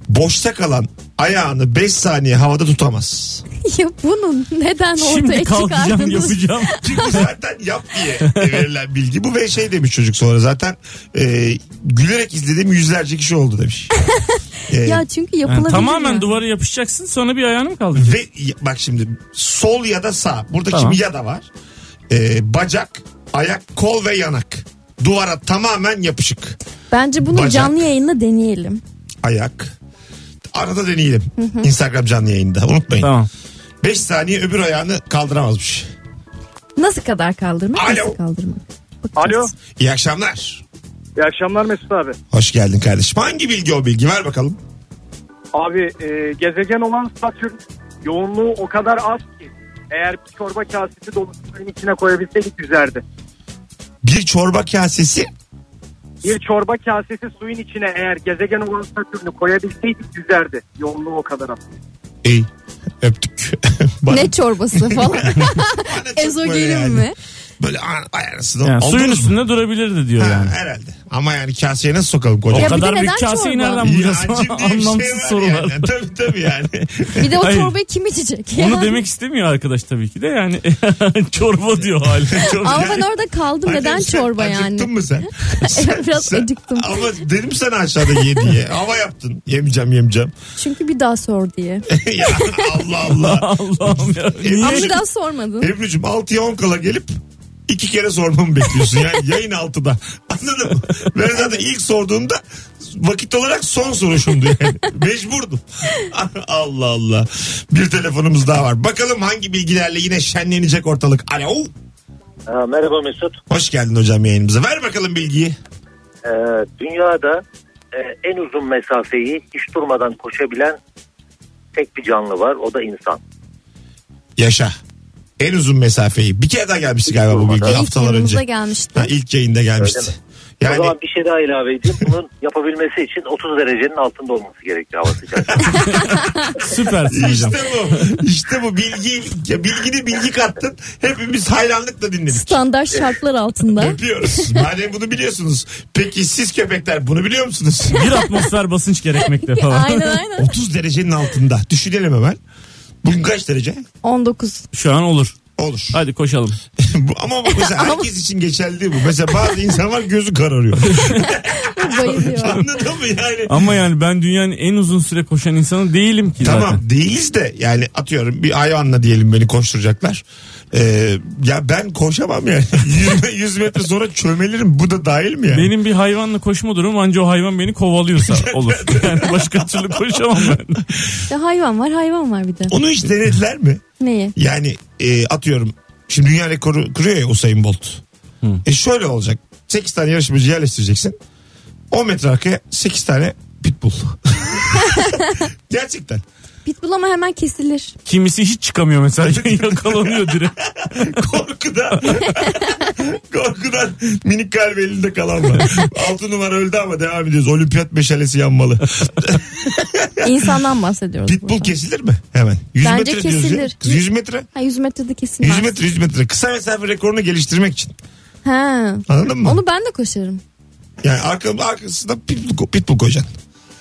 [SPEAKER 2] boşta kalan ayağını 5 saniye havada tutamaz.
[SPEAKER 4] ya bunun neden ortaya
[SPEAKER 3] Şimdi kalkacağım
[SPEAKER 4] çıkardınız?
[SPEAKER 3] yapacağım.
[SPEAKER 2] Çünkü zaten yap diye verilen bilgi bu ve şey demiş çocuk sonra zaten e, gülerek izlediğim yüzlerce kişi oldu demiş. E,
[SPEAKER 4] Ya çünkü
[SPEAKER 3] Yani
[SPEAKER 4] yapılabilir.
[SPEAKER 3] tamamen
[SPEAKER 4] ya.
[SPEAKER 3] duvara yapışacaksın sonra bir ayağını mı kaldıracak?
[SPEAKER 2] ve y- bak şimdi sol ya da sağ burada
[SPEAKER 3] Tamam.
[SPEAKER 2] kim ya da var E, bacak ayak kol ve yanak duvara tamamen yapışık
[SPEAKER 4] Bence bunu
[SPEAKER 2] Bacak.
[SPEAKER 4] canlı yayında deneyelim.
[SPEAKER 2] ayak arada deneyelim Instagram canlı yayında unutmayın
[SPEAKER 3] Tamam.
[SPEAKER 2] 5 saniye öbür ayağını kaldıramazmış
[SPEAKER 4] Nasıl kadar kaldırmak?
[SPEAKER 2] Alo.
[SPEAKER 4] Nasıl kaldırmak?
[SPEAKER 6] Alo.
[SPEAKER 2] İyi akşamlar
[SPEAKER 6] İyi akşamlar Mesut abi.
[SPEAKER 2] hoş geldin kardeşim hangi bilgi o bilgi ver bakalım
[SPEAKER 6] Abi e, gezegen olan Satürn yoğunluğu o kadar az ki eğer bir çorba kasesi dolusunun içine koyabilseydik güzeldi.
[SPEAKER 2] bir çorba kasesi
[SPEAKER 6] Bir çorba kasesi suyun içine eğer gezegen olan Satürn'ü koyabilseydik güzeldi. Yoğunluğu o kadar az.
[SPEAKER 2] İyi. Öptük. Bana-
[SPEAKER 4] Ne çorbası falan.
[SPEAKER 2] bana çok böyle
[SPEAKER 4] Ezogelin
[SPEAKER 2] yani.
[SPEAKER 4] mi?
[SPEAKER 2] Böyle an- ay arasında.
[SPEAKER 3] Yani
[SPEAKER 2] Oldunuz
[SPEAKER 3] suyun
[SPEAKER 2] mu?
[SPEAKER 3] üstünde durabilirdi diyor
[SPEAKER 2] Ha,
[SPEAKER 3] yani.
[SPEAKER 2] Herhalde. Ama yani kaseye nasıl sokalım
[SPEAKER 3] O
[SPEAKER 2] koca?
[SPEAKER 4] Ya bir de
[SPEAKER 3] kadar büyük
[SPEAKER 4] neden
[SPEAKER 3] kaseyi
[SPEAKER 4] çorba?
[SPEAKER 3] nereden bulacağız?
[SPEAKER 2] Yancım diye bir şey
[SPEAKER 3] Anlamsız
[SPEAKER 2] var
[SPEAKER 3] sorular.
[SPEAKER 2] Yani. Tabii tabii yani.
[SPEAKER 4] Bir de o
[SPEAKER 3] Hayır.
[SPEAKER 4] çorbayı kim içecek?
[SPEAKER 3] Onu
[SPEAKER 4] Yani.
[SPEAKER 3] demek istemiyor arkadaş tabii ki de yani çorba diyor hala. Çorba.
[SPEAKER 4] Ama ben orada kaldım. Neden
[SPEAKER 2] Annem sen
[SPEAKER 4] çorba yani?
[SPEAKER 2] Acıktın mı sen?
[SPEAKER 4] Biraz
[SPEAKER 2] Sen-
[SPEAKER 4] acıktım.
[SPEAKER 2] Ama dedim sana aşağıda ye diye. Hava yaptın. Yemeyeceğim yemeyeceğim.
[SPEAKER 4] Çünkü bir daha sor diye.
[SPEAKER 2] ya Allah Allah.
[SPEAKER 3] Allah'ım ya.
[SPEAKER 4] Ama
[SPEAKER 3] Niye?
[SPEAKER 4] bir daha sormadın.
[SPEAKER 2] Ebru'cum 6'ya 10 kala gelip iki kere sormamı bekliyorsun. Yani yayın 6'da. Anladın mı? Ben zaten ilk sorduğumda vakit olarak son soruşumdu yani. Mecburdum. Allah Allah. Bir telefonumuz daha var. Bakalım hangi bilgilerle yine şenlenecek ortalık. Alo.
[SPEAKER 6] merhaba Mesut.
[SPEAKER 2] Hoş geldin hocam yayınımıza. Ver bakalım bilgiyi.
[SPEAKER 6] Ee, dünyada e, en uzun mesafeyi hiç durmadan koşabilen tek bir canlı var. O da insan.
[SPEAKER 2] Yaşa. En uzun mesafeyi. Bir kere daha gelmişti galiba bu bilgi
[SPEAKER 4] İlk
[SPEAKER 2] haftalar
[SPEAKER 4] yanımıza
[SPEAKER 2] önce.
[SPEAKER 4] gelmişti.
[SPEAKER 2] Ha, ilk yayında
[SPEAKER 6] Öyle
[SPEAKER 2] gelmişti.
[SPEAKER 6] mi? O
[SPEAKER 2] Yani
[SPEAKER 6] zaman bir şey daha ilave edeyim. Bunun yapabilmesi için 30 derecenin altında olması gerekiyor hava sıcaklığı.
[SPEAKER 3] Süpersin hocam.
[SPEAKER 2] işte bu. İşte bu bilgi ya bilgini bilgi kattın. Hepimiz hayranlıkla dinledik.
[SPEAKER 4] Standart şartlar altında.
[SPEAKER 2] Öpüyoruz. Madem bunu biliyorsunuz. Peki siz köpekler bunu biliyor musunuz?
[SPEAKER 3] Bir atmosfer basınç gerekmekte falan.
[SPEAKER 4] aynen aynen.
[SPEAKER 2] 30 derecenin altında. Düşünelim hemen. Bugün kaç derece?
[SPEAKER 4] 19.
[SPEAKER 3] Şu an olur.
[SPEAKER 2] Olur.
[SPEAKER 3] Hadi koşalım.
[SPEAKER 2] Bu- Ama bak mesela herkes için geçerli değil bu. Mesela bazı insan var gözü kararıyor.
[SPEAKER 4] Bayılıyor.
[SPEAKER 2] Anladın mı yani?
[SPEAKER 3] Ama yani ben dünyanın en uzun süre koşan insanı değilim ki
[SPEAKER 2] Tamam
[SPEAKER 3] zaten.
[SPEAKER 2] değiliz de yani atıyorum bir hayvanla diyelim beni koşturacaklar. Ee, ya ben koşamam yani. 100, 100 metre sonra çömelirim. Bu da dahil mi yani?
[SPEAKER 3] Benim bir hayvanla koşma durumum anca o hayvan beni kovalıyorsa olur. Yani başka türlü koşamam ben.
[SPEAKER 4] Ya hayvan var hayvan var bir de.
[SPEAKER 2] Onu hiç denediler mi?
[SPEAKER 4] Neyi?
[SPEAKER 2] Yani e, atıyorum şimdi dünya rekoru kuruyor ya Usain Bolt. E şöyle olacak. 8 tane yarışmacı yerleştireceksin. 10 metre arkaya 8 tane pitbull. Gerçekten.
[SPEAKER 4] Pitbull ama hemen kesilir.
[SPEAKER 3] Kimisi hiç çıkamıyor mesela yakalanıyor direkt.
[SPEAKER 2] Korkudan. Korkudan minik kalbi elinde kalan var. 6 numara öldü ama devam ediyoruz. Olimpiyat meşalesi yanmalı.
[SPEAKER 4] İnsandan bahsediyoruz.
[SPEAKER 2] Pitbull
[SPEAKER 4] burada.
[SPEAKER 2] kesilir mi? Hemen. 100
[SPEAKER 4] Bence
[SPEAKER 2] metre diyoruz ya.
[SPEAKER 4] kesilir.
[SPEAKER 2] Kız 100 metre.
[SPEAKER 4] Ha 100 metrede
[SPEAKER 2] 100
[SPEAKER 4] kesilmez.
[SPEAKER 2] metre 100 metre. Kısa mesafe rekorunu geliştirmek için.
[SPEAKER 4] Ha.
[SPEAKER 2] Anladın mı?
[SPEAKER 4] Onu ben de koşarım.
[SPEAKER 2] Yani arkam, arkasında pitbull, ko- pitbull koyacaksın.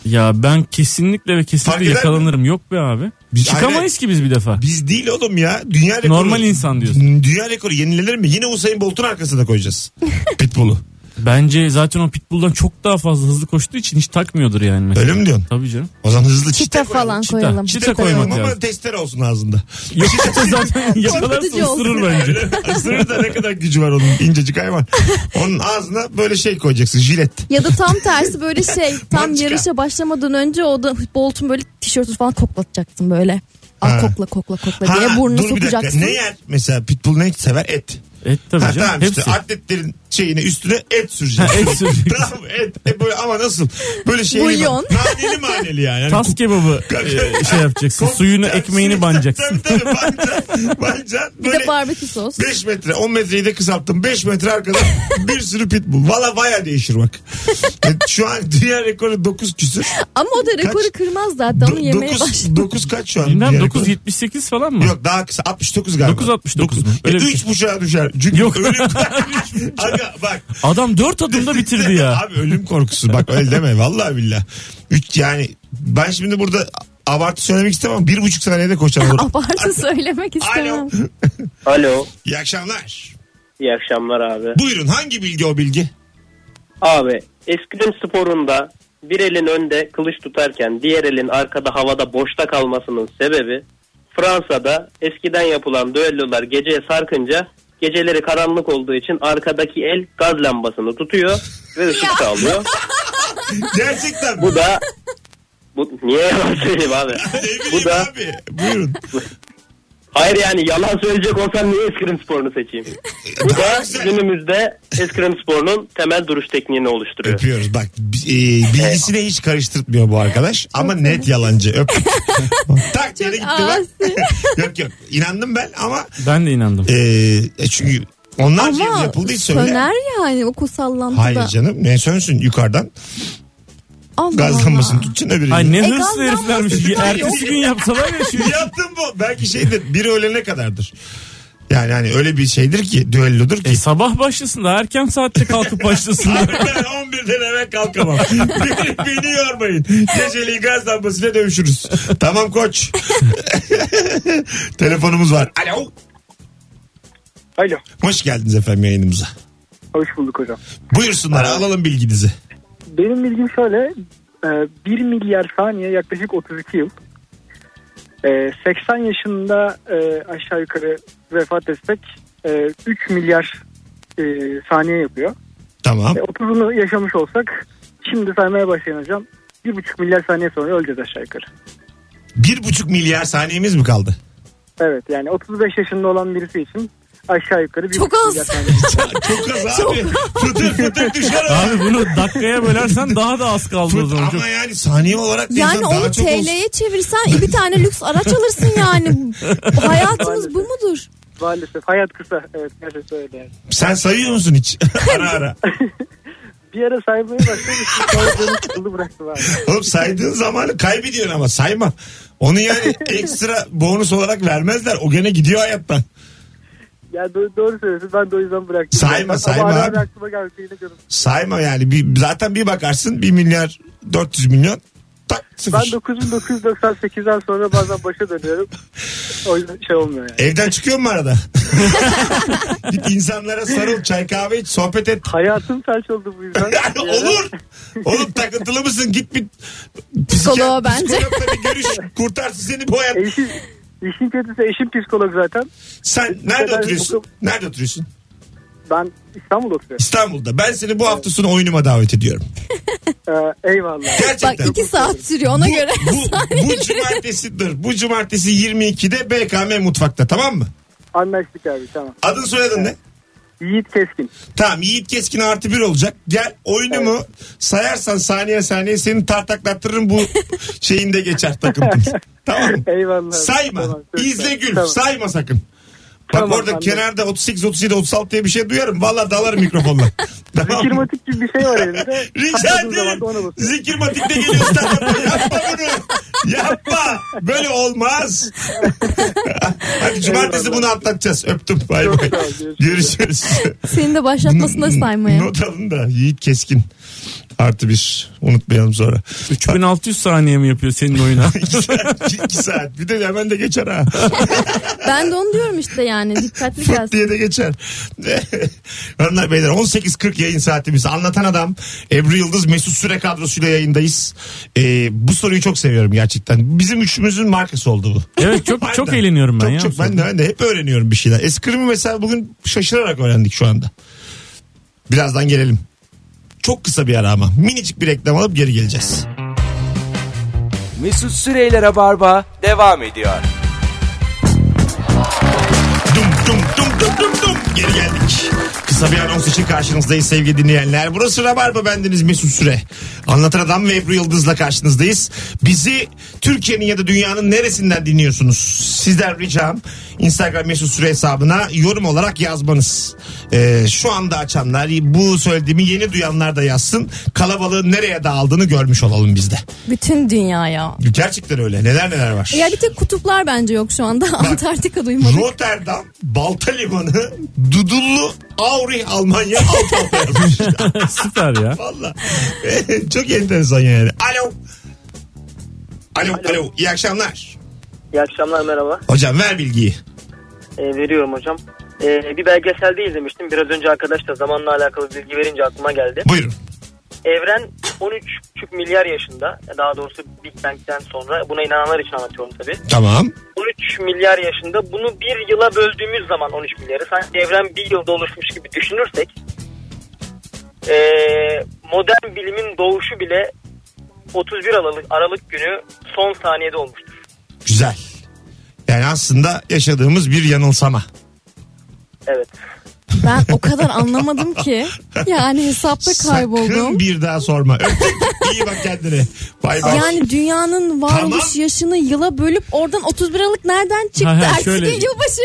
[SPEAKER 3] Ya ben kesinlikle ve
[SPEAKER 2] Fark
[SPEAKER 3] kesinlikle
[SPEAKER 2] eder mi?
[SPEAKER 3] yakalanırım. Yok be abi.
[SPEAKER 2] Biz-
[SPEAKER 3] Çıkamayız
[SPEAKER 2] Aynen.
[SPEAKER 3] ki biz bir defa.
[SPEAKER 2] Biz değil oğlum ya. Dünya rekoru.
[SPEAKER 3] Normal insan diyorsun.
[SPEAKER 2] Dünya rekoru yenilenir mi? Yine Usain Bolt'un arkasına koyacağız. Pitbull'u.
[SPEAKER 3] Bence zaten o pitbull'dan çok daha fazla hızlı koştuğu için hiç takmıyordur yani. Mesela.
[SPEAKER 2] Öyle mi diyorsun?
[SPEAKER 3] Tabii canım.
[SPEAKER 2] O zaman hızlı çite,
[SPEAKER 4] Çita
[SPEAKER 2] koyalım.
[SPEAKER 4] falan
[SPEAKER 3] çita.
[SPEAKER 4] koyalım.
[SPEAKER 3] Çita
[SPEAKER 2] Çite koyalım
[SPEAKER 3] koymak
[SPEAKER 2] ama
[SPEAKER 3] lazım.
[SPEAKER 2] testere olsun ağzında.
[SPEAKER 3] Yok işte zaten yakalarsa
[SPEAKER 4] Korkutucu olsun.
[SPEAKER 3] ısırır bence.
[SPEAKER 2] Isırır da ne kadar gücü var onun incecik hayvan. Onun ağzına böyle şey koyacaksın jilet.
[SPEAKER 4] Ya da tam tersi böyle şey tam
[SPEAKER 2] Mançka.
[SPEAKER 4] yarışa başlamadan önce o da Bolt'un böyle tişörtü falan koklatacaksın böyle. Al
[SPEAKER 2] Ha.
[SPEAKER 4] kokla kokla kokla diye burnunu
[SPEAKER 2] dur bir dakika.
[SPEAKER 4] sokacaksın.
[SPEAKER 2] Ne yer? Mesela pitbull ne sever? Et.
[SPEAKER 3] Et tabii
[SPEAKER 2] Ha,
[SPEAKER 3] canım.
[SPEAKER 2] tamam
[SPEAKER 3] Hepsi.
[SPEAKER 2] işte atletlerin şeyine üstüne et süreceksin.
[SPEAKER 3] Ha, et süreceksin.
[SPEAKER 2] tamam et, et böyle ama nasıl? Böyle şey.
[SPEAKER 4] Bulyon.
[SPEAKER 2] Naneli maneli yani. yani
[SPEAKER 3] Tas kebabı e, şey yapacaksın.
[SPEAKER 2] Kok-
[SPEAKER 3] Suyunu,
[SPEAKER 2] Tabii,
[SPEAKER 3] ekmeğini
[SPEAKER 2] suyu-
[SPEAKER 3] banacaksın.
[SPEAKER 2] Tabii tabii banacaksın. banacaksın.
[SPEAKER 4] Bir de
[SPEAKER 2] Böyle
[SPEAKER 4] barbekü sos.
[SPEAKER 2] 5 metre 10 metreyi de kısalttım. 5 metre arkada bir sürü pitbull. Valla baya değişir bak. E, Şu an dünya rekoru 9 küsür.
[SPEAKER 4] Ama o da rekoru
[SPEAKER 2] Kaç?
[SPEAKER 4] kırmaz zaten onu yemeye
[SPEAKER 2] 9,
[SPEAKER 4] başladı.
[SPEAKER 2] 9 kaç şu an?
[SPEAKER 3] Bilmem
[SPEAKER 2] dünya rekoru?
[SPEAKER 3] 9.78 falan mı?
[SPEAKER 2] Yok daha kısa 69 galiba.
[SPEAKER 3] 9.69 mu? Öyle
[SPEAKER 2] Öyle
[SPEAKER 3] bir şey.
[SPEAKER 2] 3 buçuğa düşer. Çünkü
[SPEAKER 3] Yok.
[SPEAKER 2] ölüm Aga bak.
[SPEAKER 3] Adam dört adımda bitirdi ya.
[SPEAKER 2] Abi ölüm korkusu bak öyle deme vallahi billah. 3 yani ben şimdi burada abartı söylemek istemem. Bir buçuk saniyede koşarım.
[SPEAKER 4] Abartı söylemek istemem.
[SPEAKER 2] Alo.
[SPEAKER 8] Alo.
[SPEAKER 2] İyi akşamlar.
[SPEAKER 8] İyi akşamlar abi.
[SPEAKER 2] Buyurun hangi bilgi o bilgi?
[SPEAKER 8] Abi eskrim sporunda bir elin önde kılıç tutarken diğer elin arkada havada boşta kalmasının sebebi Fransa'da eskiden yapılan düellolar geceye sarkınca geceleri karanlık olduğu için arkadaki el gaz lambasını tutuyor ve ışık sağlıyor.
[SPEAKER 2] Gerçekten mi?
[SPEAKER 8] Bu da bu niye yalan söyleyeyim abi?
[SPEAKER 2] Ne
[SPEAKER 8] Bu
[SPEAKER 2] bileyim
[SPEAKER 8] da
[SPEAKER 2] abi. Buyurun.
[SPEAKER 8] hayır yani yalan söyleyecek olsam niye eskrim sporunu seçeyim? Bu
[SPEAKER 2] Daha
[SPEAKER 8] da
[SPEAKER 2] güzel.
[SPEAKER 8] günümüzde eskrim sporunun temel duruş tekniğini oluşturuyor.
[SPEAKER 2] Öpüyoruz bak e, bilgisini hiç karıştırtmıyor bu arkadaş ama net yalancı öptük. tak yere gitti ben. yok yok inandım ben ama
[SPEAKER 3] Ben de inandım.
[SPEAKER 2] e, e, çünkü onlarca yıl
[SPEAKER 4] Ama
[SPEAKER 2] yapıldı hiç söyle.
[SPEAKER 4] söner yani o kusallantıda.
[SPEAKER 2] Hayır canım ne sönsün yukarıdan
[SPEAKER 4] Allah
[SPEAKER 2] gazlanmasını
[SPEAKER 4] Allah.
[SPEAKER 2] tutacaksın öbürü.
[SPEAKER 3] Ay ne
[SPEAKER 4] E,
[SPEAKER 3] hırslı
[SPEAKER 4] gaz
[SPEAKER 3] heriflermiş.
[SPEAKER 4] lambası-
[SPEAKER 3] Ertesi gün yapsalar ya şu.
[SPEAKER 2] Yaptım bu. Belki şeydir biri ölene kadardır. Yani hani öyle bir şeydir ki düellodur ki.
[SPEAKER 3] E, sabah başlasın da erken saatte kalkıp başlasın.
[SPEAKER 2] Abi ben 11'den eve kalkamam. beni, beni yormayın. Geceliği gaz lambasıyla dövüşürüz. Tamam koç. Telefonumuz var. Alo.
[SPEAKER 9] Alo.
[SPEAKER 2] Hoş geldiniz efendim yayınımıza.
[SPEAKER 9] Hoş bulduk hocam.
[SPEAKER 2] Buyursunlar alalım bilginizi.
[SPEAKER 9] Benim bilgim şöyle. 1 milyar saniye yaklaşık 32 yıl. E, 80 yaşında e, aşağı yukarı vefat etsek e, 3 milyar e, saniye yapıyor.
[SPEAKER 2] Tamam.
[SPEAKER 9] E, 30'unu yaşamış olsak şimdi saymaya başlayın hocam. 1,5 milyar saniye sonra öleceğiz aşağı yukarı.
[SPEAKER 2] Bir buçuk milyar saniyemiz mi kaldı?
[SPEAKER 9] Evet yani 35 yaşında olan birisi için aşağı yukarı 1,5
[SPEAKER 4] Çok az.
[SPEAKER 9] milyar saniye.
[SPEAKER 2] Çok az abi. fıtır fıtır düşer. abi.
[SPEAKER 3] Abi bunu dakikaya bölersen daha da az kaldı o
[SPEAKER 2] Fıt-
[SPEAKER 3] zaman. Çok-
[SPEAKER 2] ama yani saniye olarak da insan
[SPEAKER 4] Yani
[SPEAKER 2] daha
[SPEAKER 4] onu
[SPEAKER 2] çok olsun.
[SPEAKER 4] TL'ye çevirsen bir tane lüks araç alırsın yani. Hayatımız bu mudur?
[SPEAKER 9] Maalesef hayat kısa. Evet gerçekten öyle yani.
[SPEAKER 2] Sen sayıyor musun hiç? ara ara.
[SPEAKER 9] Bir ara saymaya başlamıştım sonra canım sıkıldı bıraktım abi.
[SPEAKER 2] Oğlum saydığın zamanı kaybediyorsun ama sayma. Onu yani ekstra bonus olarak vermezler. O gene gidiyor hayattan.
[SPEAKER 9] Ya do- doğru söylüyorsun ben de o yüzden bıraktım.
[SPEAKER 2] Sayma,
[SPEAKER 9] Ama
[SPEAKER 2] sayma
[SPEAKER 9] ara ara
[SPEAKER 2] abi.
[SPEAKER 9] aklıma gelmesi yine canım.
[SPEAKER 2] Sayma yani. Bir, zaten bir bakarsın 1 milyar 400 milyon tak
[SPEAKER 9] Ben
[SPEAKER 2] sıfır.
[SPEAKER 9] 9998'den sonra bazen başa dönüyorum. O yüzden şey olmuyor yani.
[SPEAKER 2] Evden çıkıyor mu arada? Git insanlara sarıl, çay kahve iç, sohbet et.
[SPEAKER 9] Hayatım felç oldu bu yüzden.
[SPEAKER 2] Yani olur. Oğlum takıntılı mısın? Git bir
[SPEAKER 4] Psikoloğa
[SPEAKER 2] psikiyat-
[SPEAKER 4] bence.
[SPEAKER 2] psikologla bir görüş. Kurtarsın seni bu hayat.
[SPEAKER 9] Eşim, işin kötüsü eşim psikolog zaten.
[SPEAKER 2] Sen nerede
[SPEAKER 9] kadar
[SPEAKER 2] oturuyorsun?
[SPEAKER 9] hukukum-
[SPEAKER 2] Nerede oturuyorsun?
[SPEAKER 9] Ben İstanbul'da oturuyorum.
[SPEAKER 2] İstanbul'da. Ben seni bu hafta sonu oyunuma davet ediyorum.
[SPEAKER 9] Ee, eyvallah.
[SPEAKER 4] Bak
[SPEAKER 2] Gerçekten.
[SPEAKER 4] iki saat sürüyor ona
[SPEAKER 2] bu,
[SPEAKER 4] göre.
[SPEAKER 2] bu, bu cumartesi dur. Bu cumartesi 22'de BKM mutfakta tamam mı?
[SPEAKER 9] Anlaştık abi tamam.
[SPEAKER 2] Adın soyadın ne?
[SPEAKER 9] Yiğit Keskin.
[SPEAKER 2] Tamam Yiğit Keskin artı bir olacak. Gel oyunumu sayarsan saniye saniye seni tartaklattırırım bu şeyinde geçer takımın. tamam mı?
[SPEAKER 9] Eyvallah.
[SPEAKER 2] Sayma.
[SPEAKER 9] Tamam, söz
[SPEAKER 2] İzle
[SPEAKER 9] ver.
[SPEAKER 2] gül.
[SPEAKER 9] Tamam.
[SPEAKER 2] Sayma sakın. Bak
[SPEAKER 9] Tamam,
[SPEAKER 2] orada
[SPEAKER 9] anladım.
[SPEAKER 2] kenarda 38, 37, 36 diye bir şey duyarım. Valla dalarım mikrofonla. tamam. mı?
[SPEAKER 9] Kirmatik gibi bir şey var elimde.
[SPEAKER 2] Rica
[SPEAKER 9] Sakladığım zaman da ona
[SPEAKER 2] ederim.
[SPEAKER 9] basıyorum.
[SPEAKER 2] Zikir matikte geliyor stand-up'a. Yapma bunu. Yapma. Böyle olmaz. Hadi cumartesi
[SPEAKER 9] Eyvallah.
[SPEAKER 2] bunu atlatacağız. Öptüm. Bay
[SPEAKER 9] Çok
[SPEAKER 2] bay.
[SPEAKER 9] sağ ol, görüşürüz.
[SPEAKER 2] Görüşürüz.
[SPEAKER 4] Senin de başlatmasına saymaya.
[SPEAKER 2] Not alın da Yiğit Keskin. Artı bir. Unutmayalım sonra.
[SPEAKER 3] 3600 saniye mi yapıyor senin oyuna?
[SPEAKER 2] İki saat, iki saat. Bir de hemen de geçer ha.
[SPEAKER 4] Ben de onu diyorum işte yani dikkatli
[SPEAKER 2] Fırt
[SPEAKER 4] gelsin.
[SPEAKER 2] diye de geçer. Hanımlar beyler 18.40 yayın saatimiz. Anlatan Adam Ebru Yıldız Mesut Süre kadrosuyla yayındayız. Ee, bu soruyu çok seviyorum gerçekten. Bizim üçümüzün markası oldu bu.
[SPEAKER 3] evet çok çok
[SPEAKER 2] Harbiden.
[SPEAKER 3] eğleniyorum ben
[SPEAKER 2] çok,
[SPEAKER 3] ya.
[SPEAKER 2] Çok, ben, de, ben de hep öğreniyorum bir şeyler. Eskrimi mesela bugün şaşırarak öğrendik şu anda. Birazdan gelelim. Çok kısa bir ara ama. Minicik bir reklam alıp geri geleceğiz.
[SPEAKER 1] Mesut Süreyler'e barba devam ediyor.
[SPEAKER 2] Dum dum dum dum dum dum. Geri geldik. Kısa bir anons için karşınızdayız sevgili dinleyenler. Burası Rabarba bendeniz Mesut Süre. Anlatan Adam ve Ebru Yıldız'la karşınızdayız. Bizi Türkiye'nin ya da dünyanın neresinden dinliyorsunuz? Sizden ricam Instagram Mesut Süre hesabına yorum olarak yazmanız. Ee, şu anda açanlar bu söylediğimi yeni duyanlar da yazsın. Kalabalığın nereye dağıldığını görmüş olalım biz de.
[SPEAKER 4] Bütün dünya ya.
[SPEAKER 2] Gerçekten öyle neler neler var.
[SPEAKER 4] Ya bir tek kutuplar bence yok şu anda. Antarktika duymadık.
[SPEAKER 2] Rotterdam, Balta Limanı, Dudullu, Aurich, Almanya alt alta yazmış.
[SPEAKER 3] Süper ya.
[SPEAKER 2] Valla. Çok enteresan yani. Alo. Alo, alo. İyi akşamlar.
[SPEAKER 7] İyi akşamlar merhaba.
[SPEAKER 2] Hocam ver bilgiyi.
[SPEAKER 7] Ee, veriyorum hocam. Ee, bir belgeselde izlemiştim. Biraz önce arkadaş da zamanla alakalı bilgi verince aklıma geldi.
[SPEAKER 2] Buyurun.
[SPEAKER 7] Evren 13,5 milyar yaşında. Daha doğrusu Big Bang'den sonra. Buna inananlar için anlatıyorum tabii.
[SPEAKER 2] Tamam.
[SPEAKER 7] 13 milyar yaşında. Bunu bir yıla böldüğümüz zaman 13 milyarı. Sanki evren bir yılda oluşmuş gibi düşünürsek. ee, modern bilimin doğuşu bile 31 Aralık, Aralık günü son saniyede olmuştur.
[SPEAKER 2] Güzel. Yani aslında yaşadığımız bir yanılsama.
[SPEAKER 7] Evet.
[SPEAKER 4] Ben o kadar anlamadım ki. Yani hesapta kayboldum.
[SPEAKER 2] Sakın bir daha sorma. Öptük. İyi bak kendine. Bay bay.
[SPEAKER 4] Yani dünyanın varoluş
[SPEAKER 2] Tamam.
[SPEAKER 4] yaşını yıla bölüp oradan 31 Aralık nereden çıktı?
[SPEAKER 3] Ha, ha,
[SPEAKER 4] Ertesi
[SPEAKER 3] şöyle-
[SPEAKER 4] gün yılbaşı.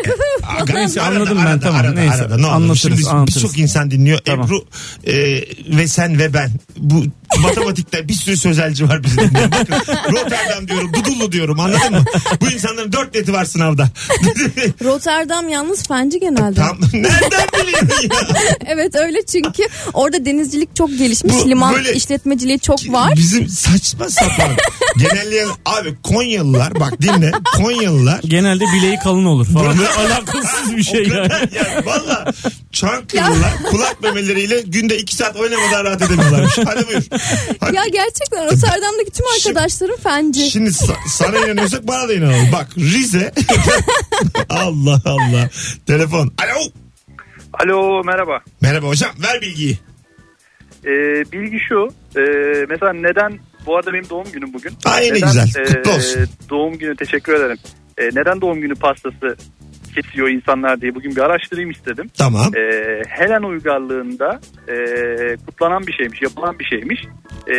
[SPEAKER 2] Aga,
[SPEAKER 3] Neyse,
[SPEAKER 2] arada,
[SPEAKER 3] anladım ben,
[SPEAKER 2] arada,
[SPEAKER 3] tamam.
[SPEAKER 2] Arada,
[SPEAKER 3] Neyse,
[SPEAKER 2] arada, ne olur.
[SPEAKER 3] anlatırız,
[SPEAKER 2] Şimdi
[SPEAKER 3] anlatırız.
[SPEAKER 2] birçok insan dinliyor.
[SPEAKER 3] Tamam.
[SPEAKER 2] Ebru e, ve sen ve ben bu matematikte bir sürü sözelci var bizim. dinleyen. Bakın Rotterdam diyorum, Dudullu diyorum anladın mı? Bu insanların dört neti var sınavda.
[SPEAKER 4] Rotterdam yalnız fenci genelde.
[SPEAKER 2] Tam nereden biliyorsun ya?
[SPEAKER 4] Evet öyle çünkü orada denizcilik çok gelişmiş.
[SPEAKER 2] Bu
[SPEAKER 4] Liman
[SPEAKER 2] böyle-
[SPEAKER 4] işletmeciliği çok var.
[SPEAKER 2] Bizim saçma sapan. Genelleyen abi Konyalılar bak dinle Konyalılar
[SPEAKER 3] Genelde bileği kalın olur falan. Böyle alakasız bir şey yani.
[SPEAKER 2] kadar ya valla Çankırılılar kulak memeleriyle günde iki saat oynamadan rahat edemiyorlarmış. Hadi buyur. Hadi.
[SPEAKER 4] Ya gerçekten Rotterdam'daki tüm arkadaşlarım fenci.
[SPEAKER 2] Şimdi sa- sana inanıyorsak bana da inanalım. Bak Rize. Allah Allah. Telefon. Alo.
[SPEAKER 6] Alo merhaba.
[SPEAKER 2] Merhaba hocam ver bilgiyi.
[SPEAKER 6] Ee, bilgi şu. e, mesela neden bu arada benim doğum günüm bugün.
[SPEAKER 2] Ay ne
[SPEAKER 6] neden, e,
[SPEAKER 2] güzel. Kutlu olsun.
[SPEAKER 6] Doğum günü teşekkür ederim. E, neden doğum günü pastası kesiyor insanlar diye bugün bir araştırayım istedim.
[SPEAKER 2] Tamam.
[SPEAKER 6] E, Helen uygarlığında e, kutlanan bir şeymiş, yapılan bir şeymiş. E,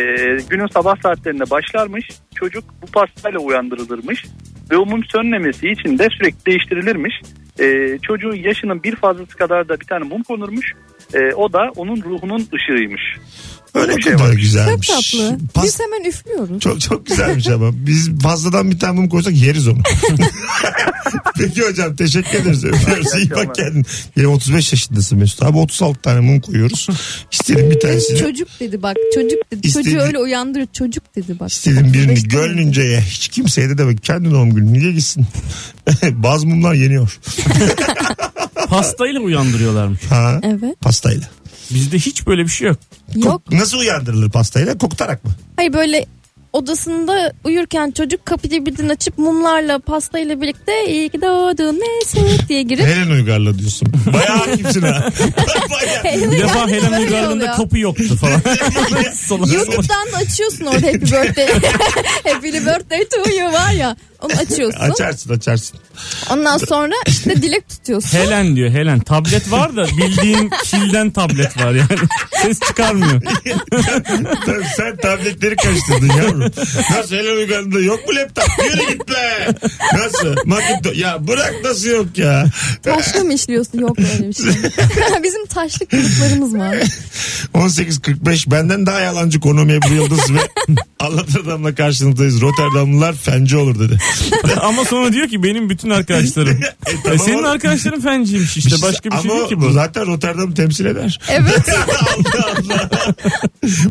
[SPEAKER 6] günün sabah saatlerinde başlarmış. Çocuk bu pastayla uyandırılırmış. Ve o mum sönmemesi için de sürekli değiştirilirmiş. E, çocuğun yaşının bir fazlası kadar da bir tane mum konurmuş. E, o da onun ruhunun ışığıymış.
[SPEAKER 2] Öyle
[SPEAKER 6] bir şey
[SPEAKER 2] kadar
[SPEAKER 4] Çok
[SPEAKER 2] güzelmiş.
[SPEAKER 4] tatlı.
[SPEAKER 2] Pas-
[SPEAKER 4] Biz hemen üflüyoruz.
[SPEAKER 2] Çok çok güzelmiş ama. Biz fazladan bir tane mum koysak yeriz onu. Peki hocam teşekkür ederiz. Öpüyoruz. İyi bak kendin. Benim 35 yaşındasın Mesut abi. 36 tane mum koyuyoruz. İsterim bir tanesini.
[SPEAKER 4] Çocuk dedi bak çocuk dedi.
[SPEAKER 2] İstedi-
[SPEAKER 4] Çocuğu öyle uyandırır çocuk dedi bak.
[SPEAKER 2] İstedim birini
[SPEAKER 4] İşte-
[SPEAKER 2] gönlünceye hiç kimseye de demek kendi doğum günü niye gitsin? Bazı mumlar yeniyor.
[SPEAKER 3] Pastayla uyandırıyorlarmış.
[SPEAKER 2] Ha,
[SPEAKER 4] Evet.
[SPEAKER 2] pastayla.
[SPEAKER 3] Bizde hiç böyle bir şey yok.
[SPEAKER 4] Yok.
[SPEAKER 2] Kok- nasıl uyandırılır pastayla? Kokutarak mı?
[SPEAKER 4] Hayır böyle odasında uyurken çocuk kapıyı birden açıp mumlarla pastayla birlikte iyi ki doğdun Mesut diye girip
[SPEAKER 2] Helen uygarla diyorsun. Bayağı hakimsin ha. Bayağı.
[SPEAKER 4] Helen
[SPEAKER 3] Bir defa
[SPEAKER 4] geldi,
[SPEAKER 3] Helen
[SPEAKER 4] böyle
[SPEAKER 3] Uygarlı'nda
[SPEAKER 4] oluyor.
[SPEAKER 3] kapı yoktu falan. Salak.
[SPEAKER 4] YouTube'dan da açıyorsun orada Happy Birthday. Happy Birthday to you var ya. Onu açıyorsun.
[SPEAKER 2] açarsın açarsın.
[SPEAKER 4] Ondan sonra işte dilek tutuyorsun.
[SPEAKER 3] Helen diyor Helen. Tablet var da bildiğin kilden tablet var yani. Ses çıkarmıyor.
[SPEAKER 2] Tabii sen tabletleri karıştırdın yavrum. Nasıl Helen Uygar'ında yok mu laptop? Yürü git be. Nasıl? Makinto- Ya bırak nasıl yok ya.
[SPEAKER 4] Taşla mı işliyorsun? Yok öyle bir şey. Bizim taşlık gruplarımız var.
[SPEAKER 2] 18.45 benden daha yalancı konu Ebru Yıldız ve anlatır adamla karşınızdayız. Rotterdamlılar fenci olur dedi.
[SPEAKER 3] Ama sonra diyor ki benim bütün arkadaşlarım.
[SPEAKER 2] E,
[SPEAKER 3] E,
[SPEAKER 2] tamam
[SPEAKER 3] senin
[SPEAKER 2] oğlum.
[SPEAKER 3] arkadaşların fenciymiş işte. Başka bir şey
[SPEAKER 2] Ama
[SPEAKER 3] değil ki bu.
[SPEAKER 2] zaten Rotterdam'ı temsil eder.
[SPEAKER 4] Evet.
[SPEAKER 2] Allah Allah.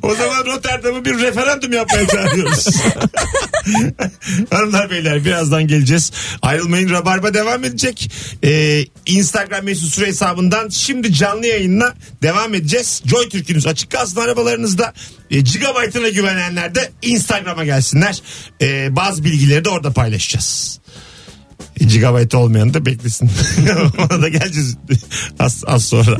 [SPEAKER 2] o zaman Rotterdam'ı bir referandum yapmaya çağırıyoruz. Hanımlar beyler birazdan geleceğiz. Ayrılmayın Rabarba devam edecek. Ee, Instagram mesut süre hesabından şimdi canlı yayınla devam edeceğiz. Joy Türk'ünüz açık kalsın arabalarınızda. E, gigabyte'ına güvenenler de Instagram'a gelsinler. Ee, bazı bilgileri de orada paylaşacağız. E, Gigabyte olmayan da beklesin. Ona da geleceğiz az, az sonra.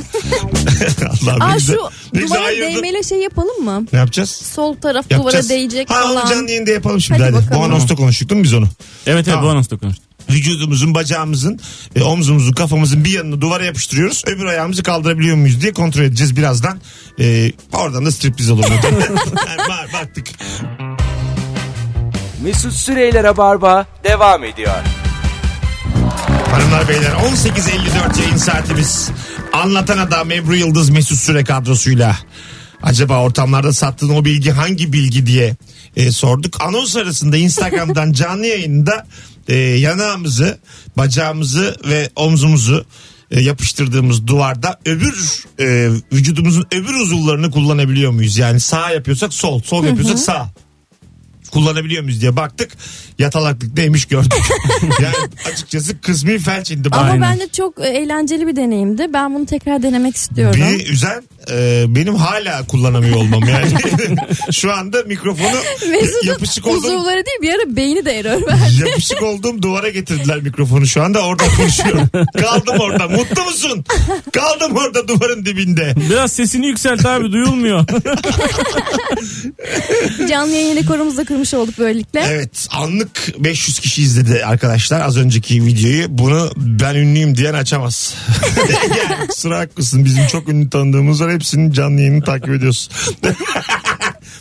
[SPEAKER 2] Allah
[SPEAKER 4] Aa şu duvara değmeyle şey yapalım mı?
[SPEAKER 2] Ne yapacağız?
[SPEAKER 4] Sol taraf
[SPEAKER 2] Yapacağız.
[SPEAKER 4] duvara değecek
[SPEAKER 2] ha, onu
[SPEAKER 4] falan.
[SPEAKER 2] canlı yayında yapalım şimdi
[SPEAKER 4] Hadi
[SPEAKER 2] hadi.
[SPEAKER 4] bakalım.
[SPEAKER 2] Bu anonsta konuştuk değil mi biz onu?
[SPEAKER 3] Evet evet
[SPEAKER 2] Tamam.
[SPEAKER 3] bu anonsla konuştuk.
[SPEAKER 2] Vücudumuzun, bacağımızın, e, omzumuzun, kafamızın bir yanını duvara yapıştırıyoruz. Öbür ayağımızı kaldırabiliyor muyuz diye kontrol edeceğiz birazdan. E, oradan da striptiz olur. yani bak- baktık.
[SPEAKER 1] Mesut Süreyler'e barba devam ediyor.
[SPEAKER 2] Hanımlar beyler 18.54 yayın saatimiz. Anlatan adam Ebru Yıldız Mesut Süre kadrosuyla. Acaba ortamlarda sattığın o bilgi hangi bilgi diye e, sorduk. Anons arasında Instagram'dan canlı yayında e, yanağımızı, bacağımızı ve omzumuzu e, yapıştırdığımız duvarda öbür e, vücudumuzun öbür uzuvlarını kullanabiliyor muyuz? Yani sağ yapıyorsak sol, sol yapıyorsak sağ kullanabiliyor muyuz diye baktık. Yatalaklık neymiş gördük. yani açıkçası kısmi felç indi.
[SPEAKER 4] Ama
[SPEAKER 2] bana.
[SPEAKER 4] bence çok e, eğlenceli bir deneyimdi. Ben bunu tekrar denemek istiyorum.
[SPEAKER 2] Beni üzen e, benim hala kullanamıyor olmam yani. Şu anda mikrofonu e, yapışık
[SPEAKER 4] Mesut'un
[SPEAKER 2] olduğum,
[SPEAKER 4] uzuvları değil bir ara beyni de error verdi.
[SPEAKER 2] yapışık olduğum duvara getirdiler mikrofonu şu anda orada konuşuyorum. Kaldım orada mutlu musun? Kaldım orada duvarın dibinde.
[SPEAKER 3] Biraz sesini yükselt abi duyulmuyor.
[SPEAKER 4] Canlı yayın rekorumuzu da kırmış olduk böylelikle.
[SPEAKER 2] Evet anlık 500 kişi izledi arkadaşlar az önceki videoyu. Bunu ben ünlüyüm diyen açamaz. yani kusura haklısın bizim çok ünlü tanıdığımız var hepsinin canlı yayını takip ediyoruz.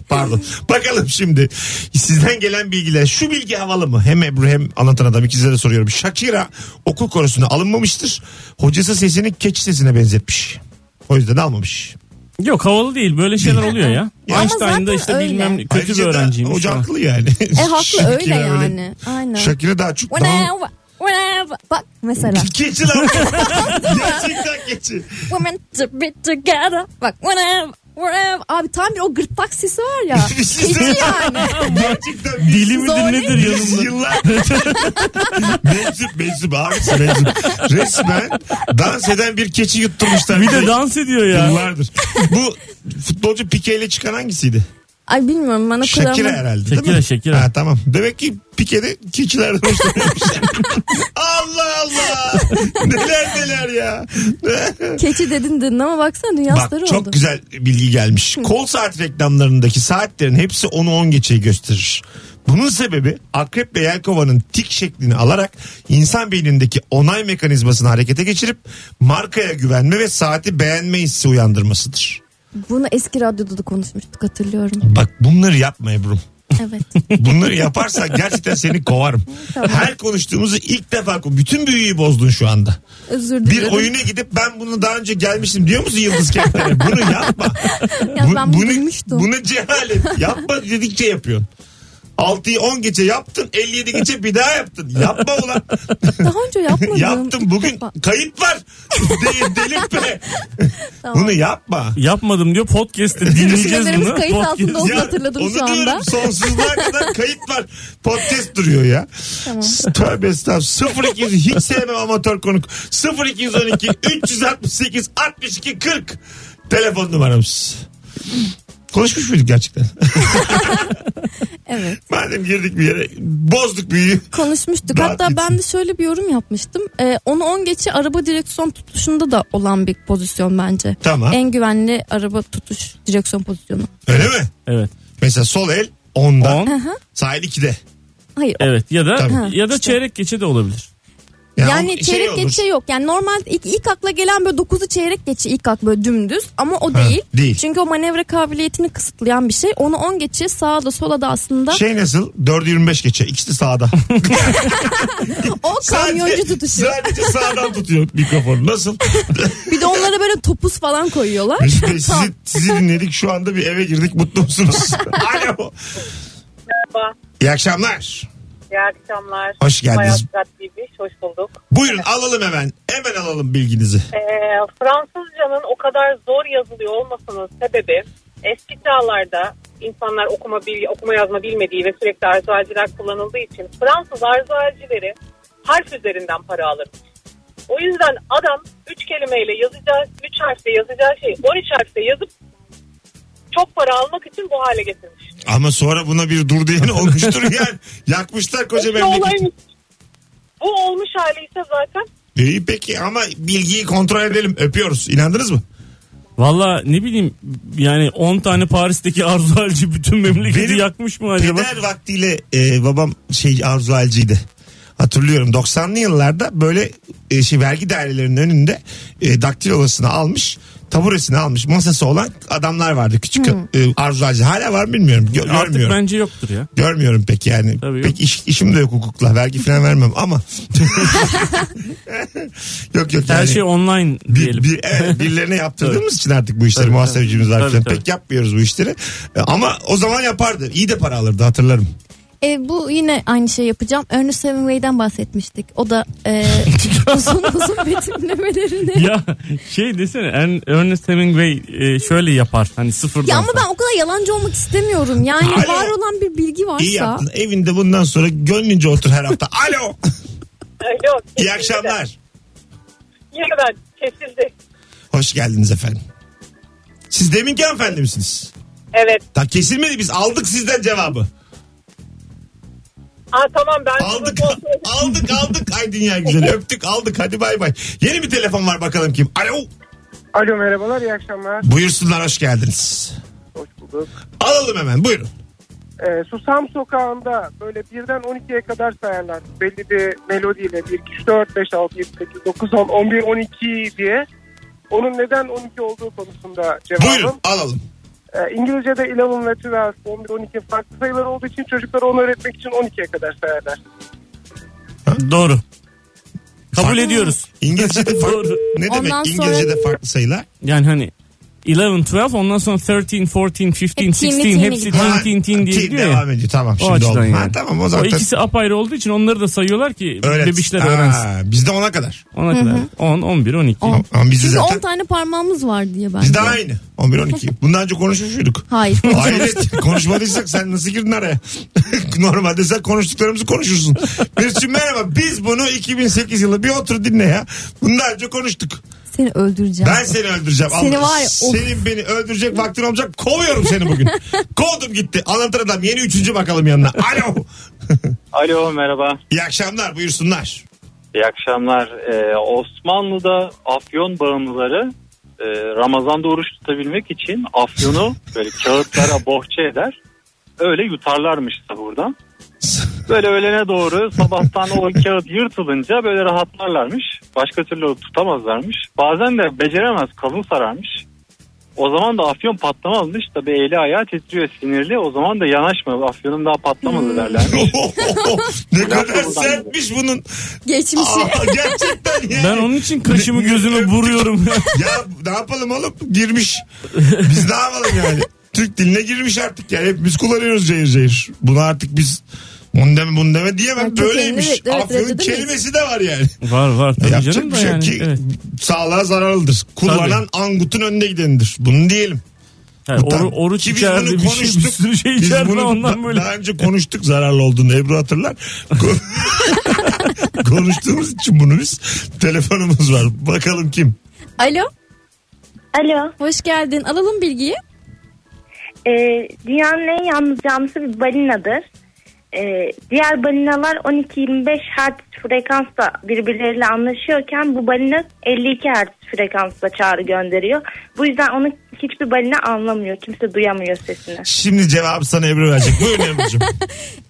[SPEAKER 2] Pardon. Bakalım şimdi sizden gelen bilgiler. Şu bilgi havalı mı? Hem Ebru hem anlatan adam ikinize de soruyorum. Shakira okul korosuna alınmamıştır. Hocası sesini keçi sesine benzetmiş. O yüzden almamış.
[SPEAKER 3] Yok havalı değil böyle şeyler oluyor ya.
[SPEAKER 4] Ama
[SPEAKER 3] Einstein'da
[SPEAKER 4] zaten
[SPEAKER 3] işte
[SPEAKER 4] öyle.
[SPEAKER 3] bilmem kötü
[SPEAKER 2] Ayrıca
[SPEAKER 3] bir
[SPEAKER 2] da
[SPEAKER 3] öğrenciyim.
[SPEAKER 2] Hoca haklı yani.
[SPEAKER 4] E haklı öyle
[SPEAKER 2] Shakira
[SPEAKER 4] yani. Aynen.
[SPEAKER 2] Shakira daha çok daha...
[SPEAKER 4] Whenever, whenever. Bak mesela.
[SPEAKER 2] Keçi lan. Gerçekten keçi.
[SPEAKER 4] Women to be together. Bak whenever. wherever. Abi tam bir o gırtlak sesi var ya.
[SPEAKER 2] Bir şey
[SPEAKER 4] Keçi
[SPEAKER 2] söyleyeyim.
[SPEAKER 4] yani.
[SPEAKER 2] Gerçekten bir
[SPEAKER 3] Dili midir
[SPEAKER 4] Zor
[SPEAKER 3] nedir
[SPEAKER 2] Biz
[SPEAKER 3] yanımda?
[SPEAKER 2] yıllar meczup meczup abisi meczup. Resmen dans eden bir keçi yutturmuşlar.
[SPEAKER 3] Bir de dans ediyor ya.
[SPEAKER 2] Yıllardır. Bu futbolcu Pike ile çıkan hangisiydi?
[SPEAKER 4] Ay bilmiyorum bana
[SPEAKER 2] Şakira
[SPEAKER 4] kulağıma.
[SPEAKER 2] herhalde değil
[SPEAKER 3] Shakira,
[SPEAKER 2] mi?
[SPEAKER 3] Shakira.
[SPEAKER 2] Ha, tamam. Demek ki Pike'de keçilerden hoşlanıyormuş. Allah Allah. Neler neler ya.
[SPEAKER 4] Keçi dedin dedin ama baksana dünya
[SPEAKER 2] Bak
[SPEAKER 4] starı
[SPEAKER 2] çok
[SPEAKER 4] oldu.
[SPEAKER 2] güzel bilgi gelmiş. Kol saat reklamlarındaki saatlerin hepsi 10'u 10 geçeyi gösterir. Bunun sebebi akrep ve yelkovanın tik şeklini alarak insan beynindeki onay mekanizmasını harekete geçirip markaya güvenme ve saati beğenme hissi uyandırmasıdır.
[SPEAKER 4] Bunu eski radyoda da konuşmuştuk hatırlıyorum.
[SPEAKER 2] Bak bunları yapma Ebru'm.
[SPEAKER 4] Evet.
[SPEAKER 2] Bunları yaparsan gerçekten seni kovarım.
[SPEAKER 4] Tamam.
[SPEAKER 2] Her konuştuğumuzu ilk defa bütün büyüyü bozdun şu anda.
[SPEAKER 4] Özür
[SPEAKER 2] Bir
[SPEAKER 4] dilerim.
[SPEAKER 2] oyuna gidip ben bunu daha önce gelmiştim diyor musun Yıldız Kentler'e? Bunu yapma.
[SPEAKER 4] Ya
[SPEAKER 2] Bu-
[SPEAKER 4] ben bunu
[SPEAKER 2] bunu,
[SPEAKER 4] duymuştum.
[SPEAKER 2] bunu cehalet. Yapma dedikçe yapıyorsun. 6'yı 10 geçe yaptın 57 geçe bir daha yaptın. Yapma ulan.
[SPEAKER 4] Daha önce yapmadım.
[SPEAKER 2] Yaptım bugün kayıt var. De, delirtme.
[SPEAKER 4] Tamam.
[SPEAKER 2] Bunu yapma.
[SPEAKER 3] Yapmadım diyor podcast'te dinleyeceğiz
[SPEAKER 4] Sinirlerimiz
[SPEAKER 3] bunu.
[SPEAKER 4] kayıt
[SPEAKER 3] Podcast-
[SPEAKER 4] altında olsun. Onu hatırladım
[SPEAKER 2] onu
[SPEAKER 4] şu anda.
[SPEAKER 2] diyorum sonsuzluğa kadar kayıt var. Podcast duruyor ya.
[SPEAKER 4] Tamam.
[SPEAKER 2] Tövbe estağfurullah. 0200 hiç sevmem amatör konuk. 0212 368 62 40 telefon numaramız. Konuşmuş muyduk gerçekten?
[SPEAKER 4] Evet.
[SPEAKER 2] Madem girdik bir yere bozduk büyüyü.
[SPEAKER 4] konuşmuştuk.
[SPEAKER 2] Daha
[SPEAKER 4] Hatta ben de şöyle bir yorum yapmıştım. Ee, onu 10 geçi araba direksiyon tutuşunda da olan bir pozisyon bence.
[SPEAKER 2] Tamam.
[SPEAKER 4] En güvenli araba tutuş direksiyon pozisyonu.
[SPEAKER 2] Öyle mi?
[SPEAKER 3] Evet.
[SPEAKER 2] Mesela sol el 10'da.
[SPEAKER 3] 10.
[SPEAKER 2] Sahil 2'de.
[SPEAKER 4] Hayır.
[SPEAKER 3] Evet ya da
[SPEAKER 2] Tabii.
[SPEAKER 3] ya da çeyrek geçe de olabilir.
[SPEAKER 4] Yani
[SPEAKER 2] o şey
[SPEAKER 4] çeyrek
[SPEAKER 2] olur.
[SPEAKER 4] geçe yok. Yani normal ilk, ilk akla gelen böyle 9'u çeyrek geçe ilk ak böyle dümdüz ama o
[SPEAKER 2] Ha,
[SPEAKER 4] değil.
[SPEAKER 2] değil.
[SPEAKER 4] Çünkü o manevra kabiliyetini kısıtlayan bir şey. Onu 10 geçe sağa da sola da aslında
[SPEAKER 2] Şey nasıl? 4.25 geçe. İkisi de sağda.
[SPEAKER 4] o kamyoncu tutuşu.
[SPEAKER 2] Sadece sağdan tutuyor mikrofonu. Nasıl?
[SPEAKER 4] Bir de onlara böyle topuz falan koyuyorlar.
[SPEAKER 2] Mesut Bey,
[SPEAKER 4] Tam.
[SPEAKER 2] sizi, sizi dinledik. Şu anda bir eve girdik. Mutlu musunuz? Alo.
[SPEAKER 5] Merhaba.
[SPEAKER 2] İyi akşamlar.
[SPEAKER 5] İyi akşamlar.
[SPEAKER 2] Hoş geldiniz.
[SPEAKER 5] Bayağı tatlıymış. Hoş bulduk.
[SPEAKER 2] Buyurun alalım hemen. Hemen alalım bilginizi.
[SPEAKER 5] Ee, Fransızcanın o kadar zor yazılıyor olmasının sebebi eski çağlarda insanlar okuma bil- okuma yazma bilmediği ve sürekli arzualciler kullanıldığı için Fransız arzualcileri harf üzerinden para alırmış. O yüzden adam 3 kelimeyle yazacağı, 3 harfle yazacağı şeyi 13 harfle yazıp çok para almak için bu hale getirmiş.
[SPEAKER 2] Ama sonra buna bir dur diyen olmuştur yani. Yakmışlar koca
[SPEAKER 5] Eski
[SPEAKER 2] memleketi.
[SPEAKER 5] olaymış. Bu olmuş hali ise zaten
[SPEAKER 2] İyi peki ama bilgiyi kontrol edelim. Öpüyoruz. İnandınız mı?
[SPEAKER 3] Valla ne bileyim yani 10 tane Paris'teki arzu halci bütün memleketi
[SPEAKER 2] Benim
[SPEAKER 3] yakmış mı acaba?
[SPEAKER 2] Peder vaktiyle e, babam şey Arzu Alcı'ydı. Hatırlıyorum 90'lı yıllarda böyle e, şey vergi dairelerinin önünde e, daktilolasını almış taburesini almış masası olan adamlar vardı küçük e, Arzu Alcı hala var mı bilmiyorum Gö-
[SPEAKER 3] Hmm. Artık
[SPEAKER 2] görmüyorum
[SPEAKER 3] bence yoktur ya.
[SPEAKER 2] görmüyorum pek yani
[SPEAKER 3] Tabii yok.
[SPEAKER 2] pek iş- işim de yok hukukla vergi falan vermem ama yok yok
[SPEAKER 3] Her
[SPEAKER 2] yani.
[SPEAKER 3] şey online diyelim.
[SPEAKER 2] Bir, bir, evet, birilerine yaptırdığımız için artık bu işleri
[SPEAKER 3] Tabii,
[SPEAKER 2] muhasebecimiz var.
[SPEAKER 3] tabii.
[SPEAKER 2] falan.
[SPEAKER 3] Tabii,
[SPEAKER 2] Pek yapmıyoruz bu işleri. E, Ama o zaman yapardı. İyi de para alırdı hatırlarım.
[SPEAKER 4] E, bu yine aynı şey yapacağım. Ernest Hemingway'den bahsetmiştik. O da e, uzun uzun betimlemelerini. Ya,
[SPEAKER 3] ya şey desene en- Ernest Hemingway e, şöyle yapar hani sıfırdan.
[SPEAKER 4] ama ben o kadar yalancı olmak istemiyorum. Yani
[SPEAKER 2] Alo.
[SPEAKER 4] var olan bir bilgi varsa.
[SPEAKER 2] İyi yaptın. Evinde bundan sonra gönlünce otur her hafta. Alo.
[SPEAKER 5] Alo.
[SPEAKER 2] İyi akşamlar.
[SPEAKER 5] Yeniden kesildi.
[SPEAKER 2] Hoş geldiniz efendim. Siz deminki hanımefendi misiniz?
[SPEAKER 5] Evet.
[SPEAKER 2] Ta kesilmedi biz aldık sizden cevabı.
[SPEAKER 5] Aa, tamam ben
[SPEAKER 2] Aldık
[SPEAKER 5] bunu kontrol edeceğim.
[SPEAKER 2] aldık aldık ay dünya güzel öptük aldık hadi bay bay. Yeni bir telefon var bakalım kim. Alo
[SPEAKER 9] Alo merhabalar iyi akşamlar.
[SPEAKER 2] buyursunlar hoş geldiniz.
[SPEAKER 9] Hoş bulduk.
[SPEAKER 2] Alalım hemen buyurun.
[SPEAKER 9] Ee, Susam Sokağı'nda böyle birden 12'ye kadar sayarlar. Belli bir melodiyle 1, 2, 3, 4, 5, 6, 7, 8, 9, 10, 11, 12 diye. Onun neden 12 olduğu konusunda
[SPEAKER 2] Buyurun
[SPEAKER 9] cevabım.
[SPEAKER 2] alalım.
[SPEAKER 9] Ee, İngilizce'de 11 ve 12, 11, 12 farklı sayılar olduğu için çocuklara onu öğretmek için 12'ye kadar sayarlar.
[SPEAKER 3] Doğru. Kabul
[SPEAKER 2] Farklı-
[SPEAKER 3] ediyoruz.
[SPEAKER 2] İngilizce'de farklı.
[SPEAKER 3] Doğru.
[SPEAKER 2] Ne demek
[SPEAKER 4] Ondan sonra-
[SPEAKER 2] İngilizce'de farklı sayılar?
[SPEAKER 3] Yani hani 11-12 ondan sonra 13-14-15-16
[SPEAKER 4] team'i
[SPEAKER 3] hepsi teen
[SPEAKER 4] gidiyor.
[SPEAKER 3] teen teen diye
[SPEAKER 2] Tin
[SPEAKER 3] gidiyor ya.
[SPEAKER 2] devam ediyor. Tamam
[SPEAKER 3] O
[SPEAKER 2] şimdi
[SPEAKER 3] açıdan
[SPEAKER 2] oldu.
[SPEAKER 3] yani.
[SPEAKER 2] Ha, tamam o
[SPEAKER 3] O
[SPEAKER 2] zaten.
[SPEAKER 3] ikisi apayrı olduğu için onları da sayıyorlar ki
[SPEAKER 2] öğret.
[SPEAKER 3] bebişler
[SPEAKER 2] Aa,
[SPEAKER 3] öğrensin.
[SPEAKER 2] Bizde ona kadar.
[SPEAKER 3] Ona kadar. 10, 11, 12.
[SPEAKER 2] Ama- Ama bizde
[SPEAKER 4] Çünkü 10
[SPEAKER 2] zaten.
[SPEAKER 4] tane parmağımız var diye ben.
[SPEAKER 2] Bizde aynı. 11-12. Bundan önce konuşmuş muyduk?
[SPEAKER 4] Hayır.
[SPEAKER 2] Hayret konuşmadıysak sen nasıl girdin araya? Normalde sen konuştuklarımızı konuşursun. Birçin merhaba biz bunu 2008 yılı bir otur dinle ya. Bundan önce konuştuk.
[SPEAKER 4] Seni öldüreceğim.
[SPEAKER 2] Ben seni öldüreceğim.
[SPEAKER 4] Seni var ya, of.
[SPEAKER 2] Senin beni öldürecek vaktin olacak. Kovuyorum seni bugün. Kovdum gitti. Anlatır adam yeni üçüncü bakalım yanına. Alo.
[SPEAKER 6] Alo merhaba.
[SPEAKER 2] İyi akşamlar buyursunlar.
[SPEAKER 6] İyi akşamlar. Ee, Osmanlı'da afyon bağımlıları e, Ramazan'da oruç tutabilmek için afyonu böyle kağıtlara bohça eder. Öyle yutarlarmış buradan. Böyle öğlene doğru sabahtan o kağıt yırtılınca böyle rahatlarlarmış. Başka türlü tutamazlarmış. Bazen de beceremez kalın sararmış. O zaman da afyon patlamamış. Tabii eli ayağı titriyor sinirli. O zaman da yanaşma afyonum daha patlamadı derler.
[SPEAKER 2] ne kadar sertmiş bunun.
[SPEAKER 4] Geçmişi.
[SPEAKER 2] Aa, gerçekten yani.
[SPEAKER 3] Ben onun için kaşımı gözümü vuruyorum.
[SPEAKER 2] Ya ne yapalım oğlum? Girmiş. Biz ne yapalım yani? Türk diline girmiş artık yani. Hepimiz kullanıyoruz cayır cayır. Buna artık biz bunu deme bunu deme diyemem.
[SPEAKER 4] Ya
[SPEAKER 2] Böyleymiş.
[SPEAKER 4] kökenini evet, evet,
[SPEAKER 2] Afyonun
[SPEAKER 4] reddedemeyiz.
[SPEAKER 2] kelimesi de var yani.
[SPEAKER 3] var var
[SPEAKER 2] E,
[SPEAKER 3] tabii
[SPEAKER 2] Yapacak
[SPEAKER 3] canım
[SPEAKER 2] bir
[SPEAKER 3] da
[SPEAKER 2] şey yok
[SPEAKER 3] yani.
[SPEAKER 2] ki
[SPEAKER 3] Evet.
[SPEAKER 2] sağlığa zararlıdır. Kullanan angutun önünde gidenidir. Bunu diyelim.
[SPEAKER 3] Yani oru,
[SPEAKER 2] Tamam.
[SPEAKER 3] oruç
[SPEAKER 2] Ki biz
[SPEAKER 3] içerdi
[SPEAKER 2] bunu
[SPEAKER 3] bir şey bir
[SPEAKER 2] konuştuk.
[SPEAKER 3] sürü şey
[SPEAKER 2] Biz
[SPEAKER 3] içerdi
[SPEAKER 2] bunu
[SPEAKER 3] ondan
[SPEAKER 2] da-
[SPEAKER 3] böyle.
[SPEAKER 2] Daha önce konuştuk zararlı olduğunu Ebru hatırlar. Ko- Konuştuğumuz için bunu biz. Telefonumuz var. Bakalım kim?
[SPEAKER 4] Alo.
[SPEAKER 8] Alo.
[SPEAKER 4] Hoş geldin. Alalım bilgiyi.
[SPEAKER 8] Ee, dünyanın en yalnız canlısı bir balinadır. Ee, diğer balinalar 12-25 Hz frekansla birbirleriyle anlaşıyorken bu balina 52 Hz frekansla çağrı gönderiyor. Bu yüzden onu hiçbir balina anlamıyor. Kimse duyamıyor sesini.
[SPEAKER 2] Şimdi cevabı sana Ebru verecek. Buyurun Ebru'cum.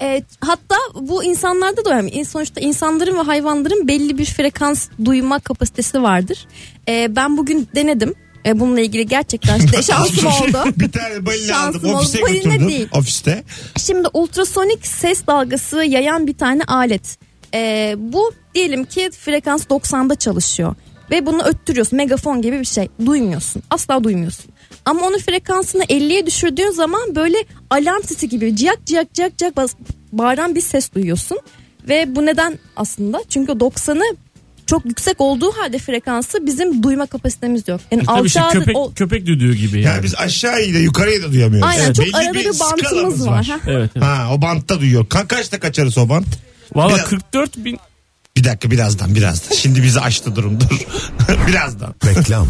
[SPEAKER 4] Evet, E, hatta bu insanlarda da öyle. İn- Sonuçta insanların ve hayvanların belli bir frekans duyma kapasitesi vardır. Ee, ben bugün denedim. Ee, bununla ilgili gerçekten işte şansım oldu.
[SPEAKER 2] şey- bir tane balina
[SPEAKER 4] Şansım
[SPEAKER 2] aldım.
[SPEAKER 4] oldu.
[SPEAKER 2] Ofise
[SPEAKER 4] Balina
[SPEAKER 2] götürdüm.
[SPEAKER 4] değil.
[SPEAKER 2] Ofiste.
[SPEAKER 4] Şimdi ultrasonik ses dalgası yayan bir tane alet. Ee, bu diyelim ki frekans 90'da çalışıyor. Ve bunu öttürüyorsun. Megafon gibi bir şey. Duymuyorsun. Asla duymuyorsun. Ama onun frekansını 50'ye düşürdüğün zaman böyle alarm sesi gibi ciyak ciyak ciyak ciyak bas- bağıran bir ses duyuyorsun. Ve bu neden aslında? Çünkü 90'ı çok yüksek olduğu halde frekansı bizim duyma kapasitemiz yok. Yani
[SPEAKER 3] Tabii şey
[SPEAKER 4] alçağı-
[SPEAKER 3] köpek,
[SPEAKER 4] o-
[SPEAKER 3] köpek düdüğü gibi yani.
[SPEAKER 2] Yani biz aşağıyı da yukarıyı da duyamıyoruz.
[SPEAKER 4] Aynen
[SPEAKER 2] Evet.
[SPEAKER 4] çok
[SPEAKER 2] Belli
[SPEAKER 4] arada bir bantımız
[SPEAKER 2] skalamız
[SPEAKER 4] var. Ha.
[SPEAKER 3] Evet. evet.
[SPEAKER 2] Ha o bantta duyuyor. Ka kaçta kaçarız o bant?
[SPEAKER 3] Valla
[SPEAKER 2] Biraz-
[SPEAKER 3] 44 bin
[SPEAKER 2] Bir dakika birazdan birazdan. Şimdi bizi açtı durum dur. birazdan. Reklam.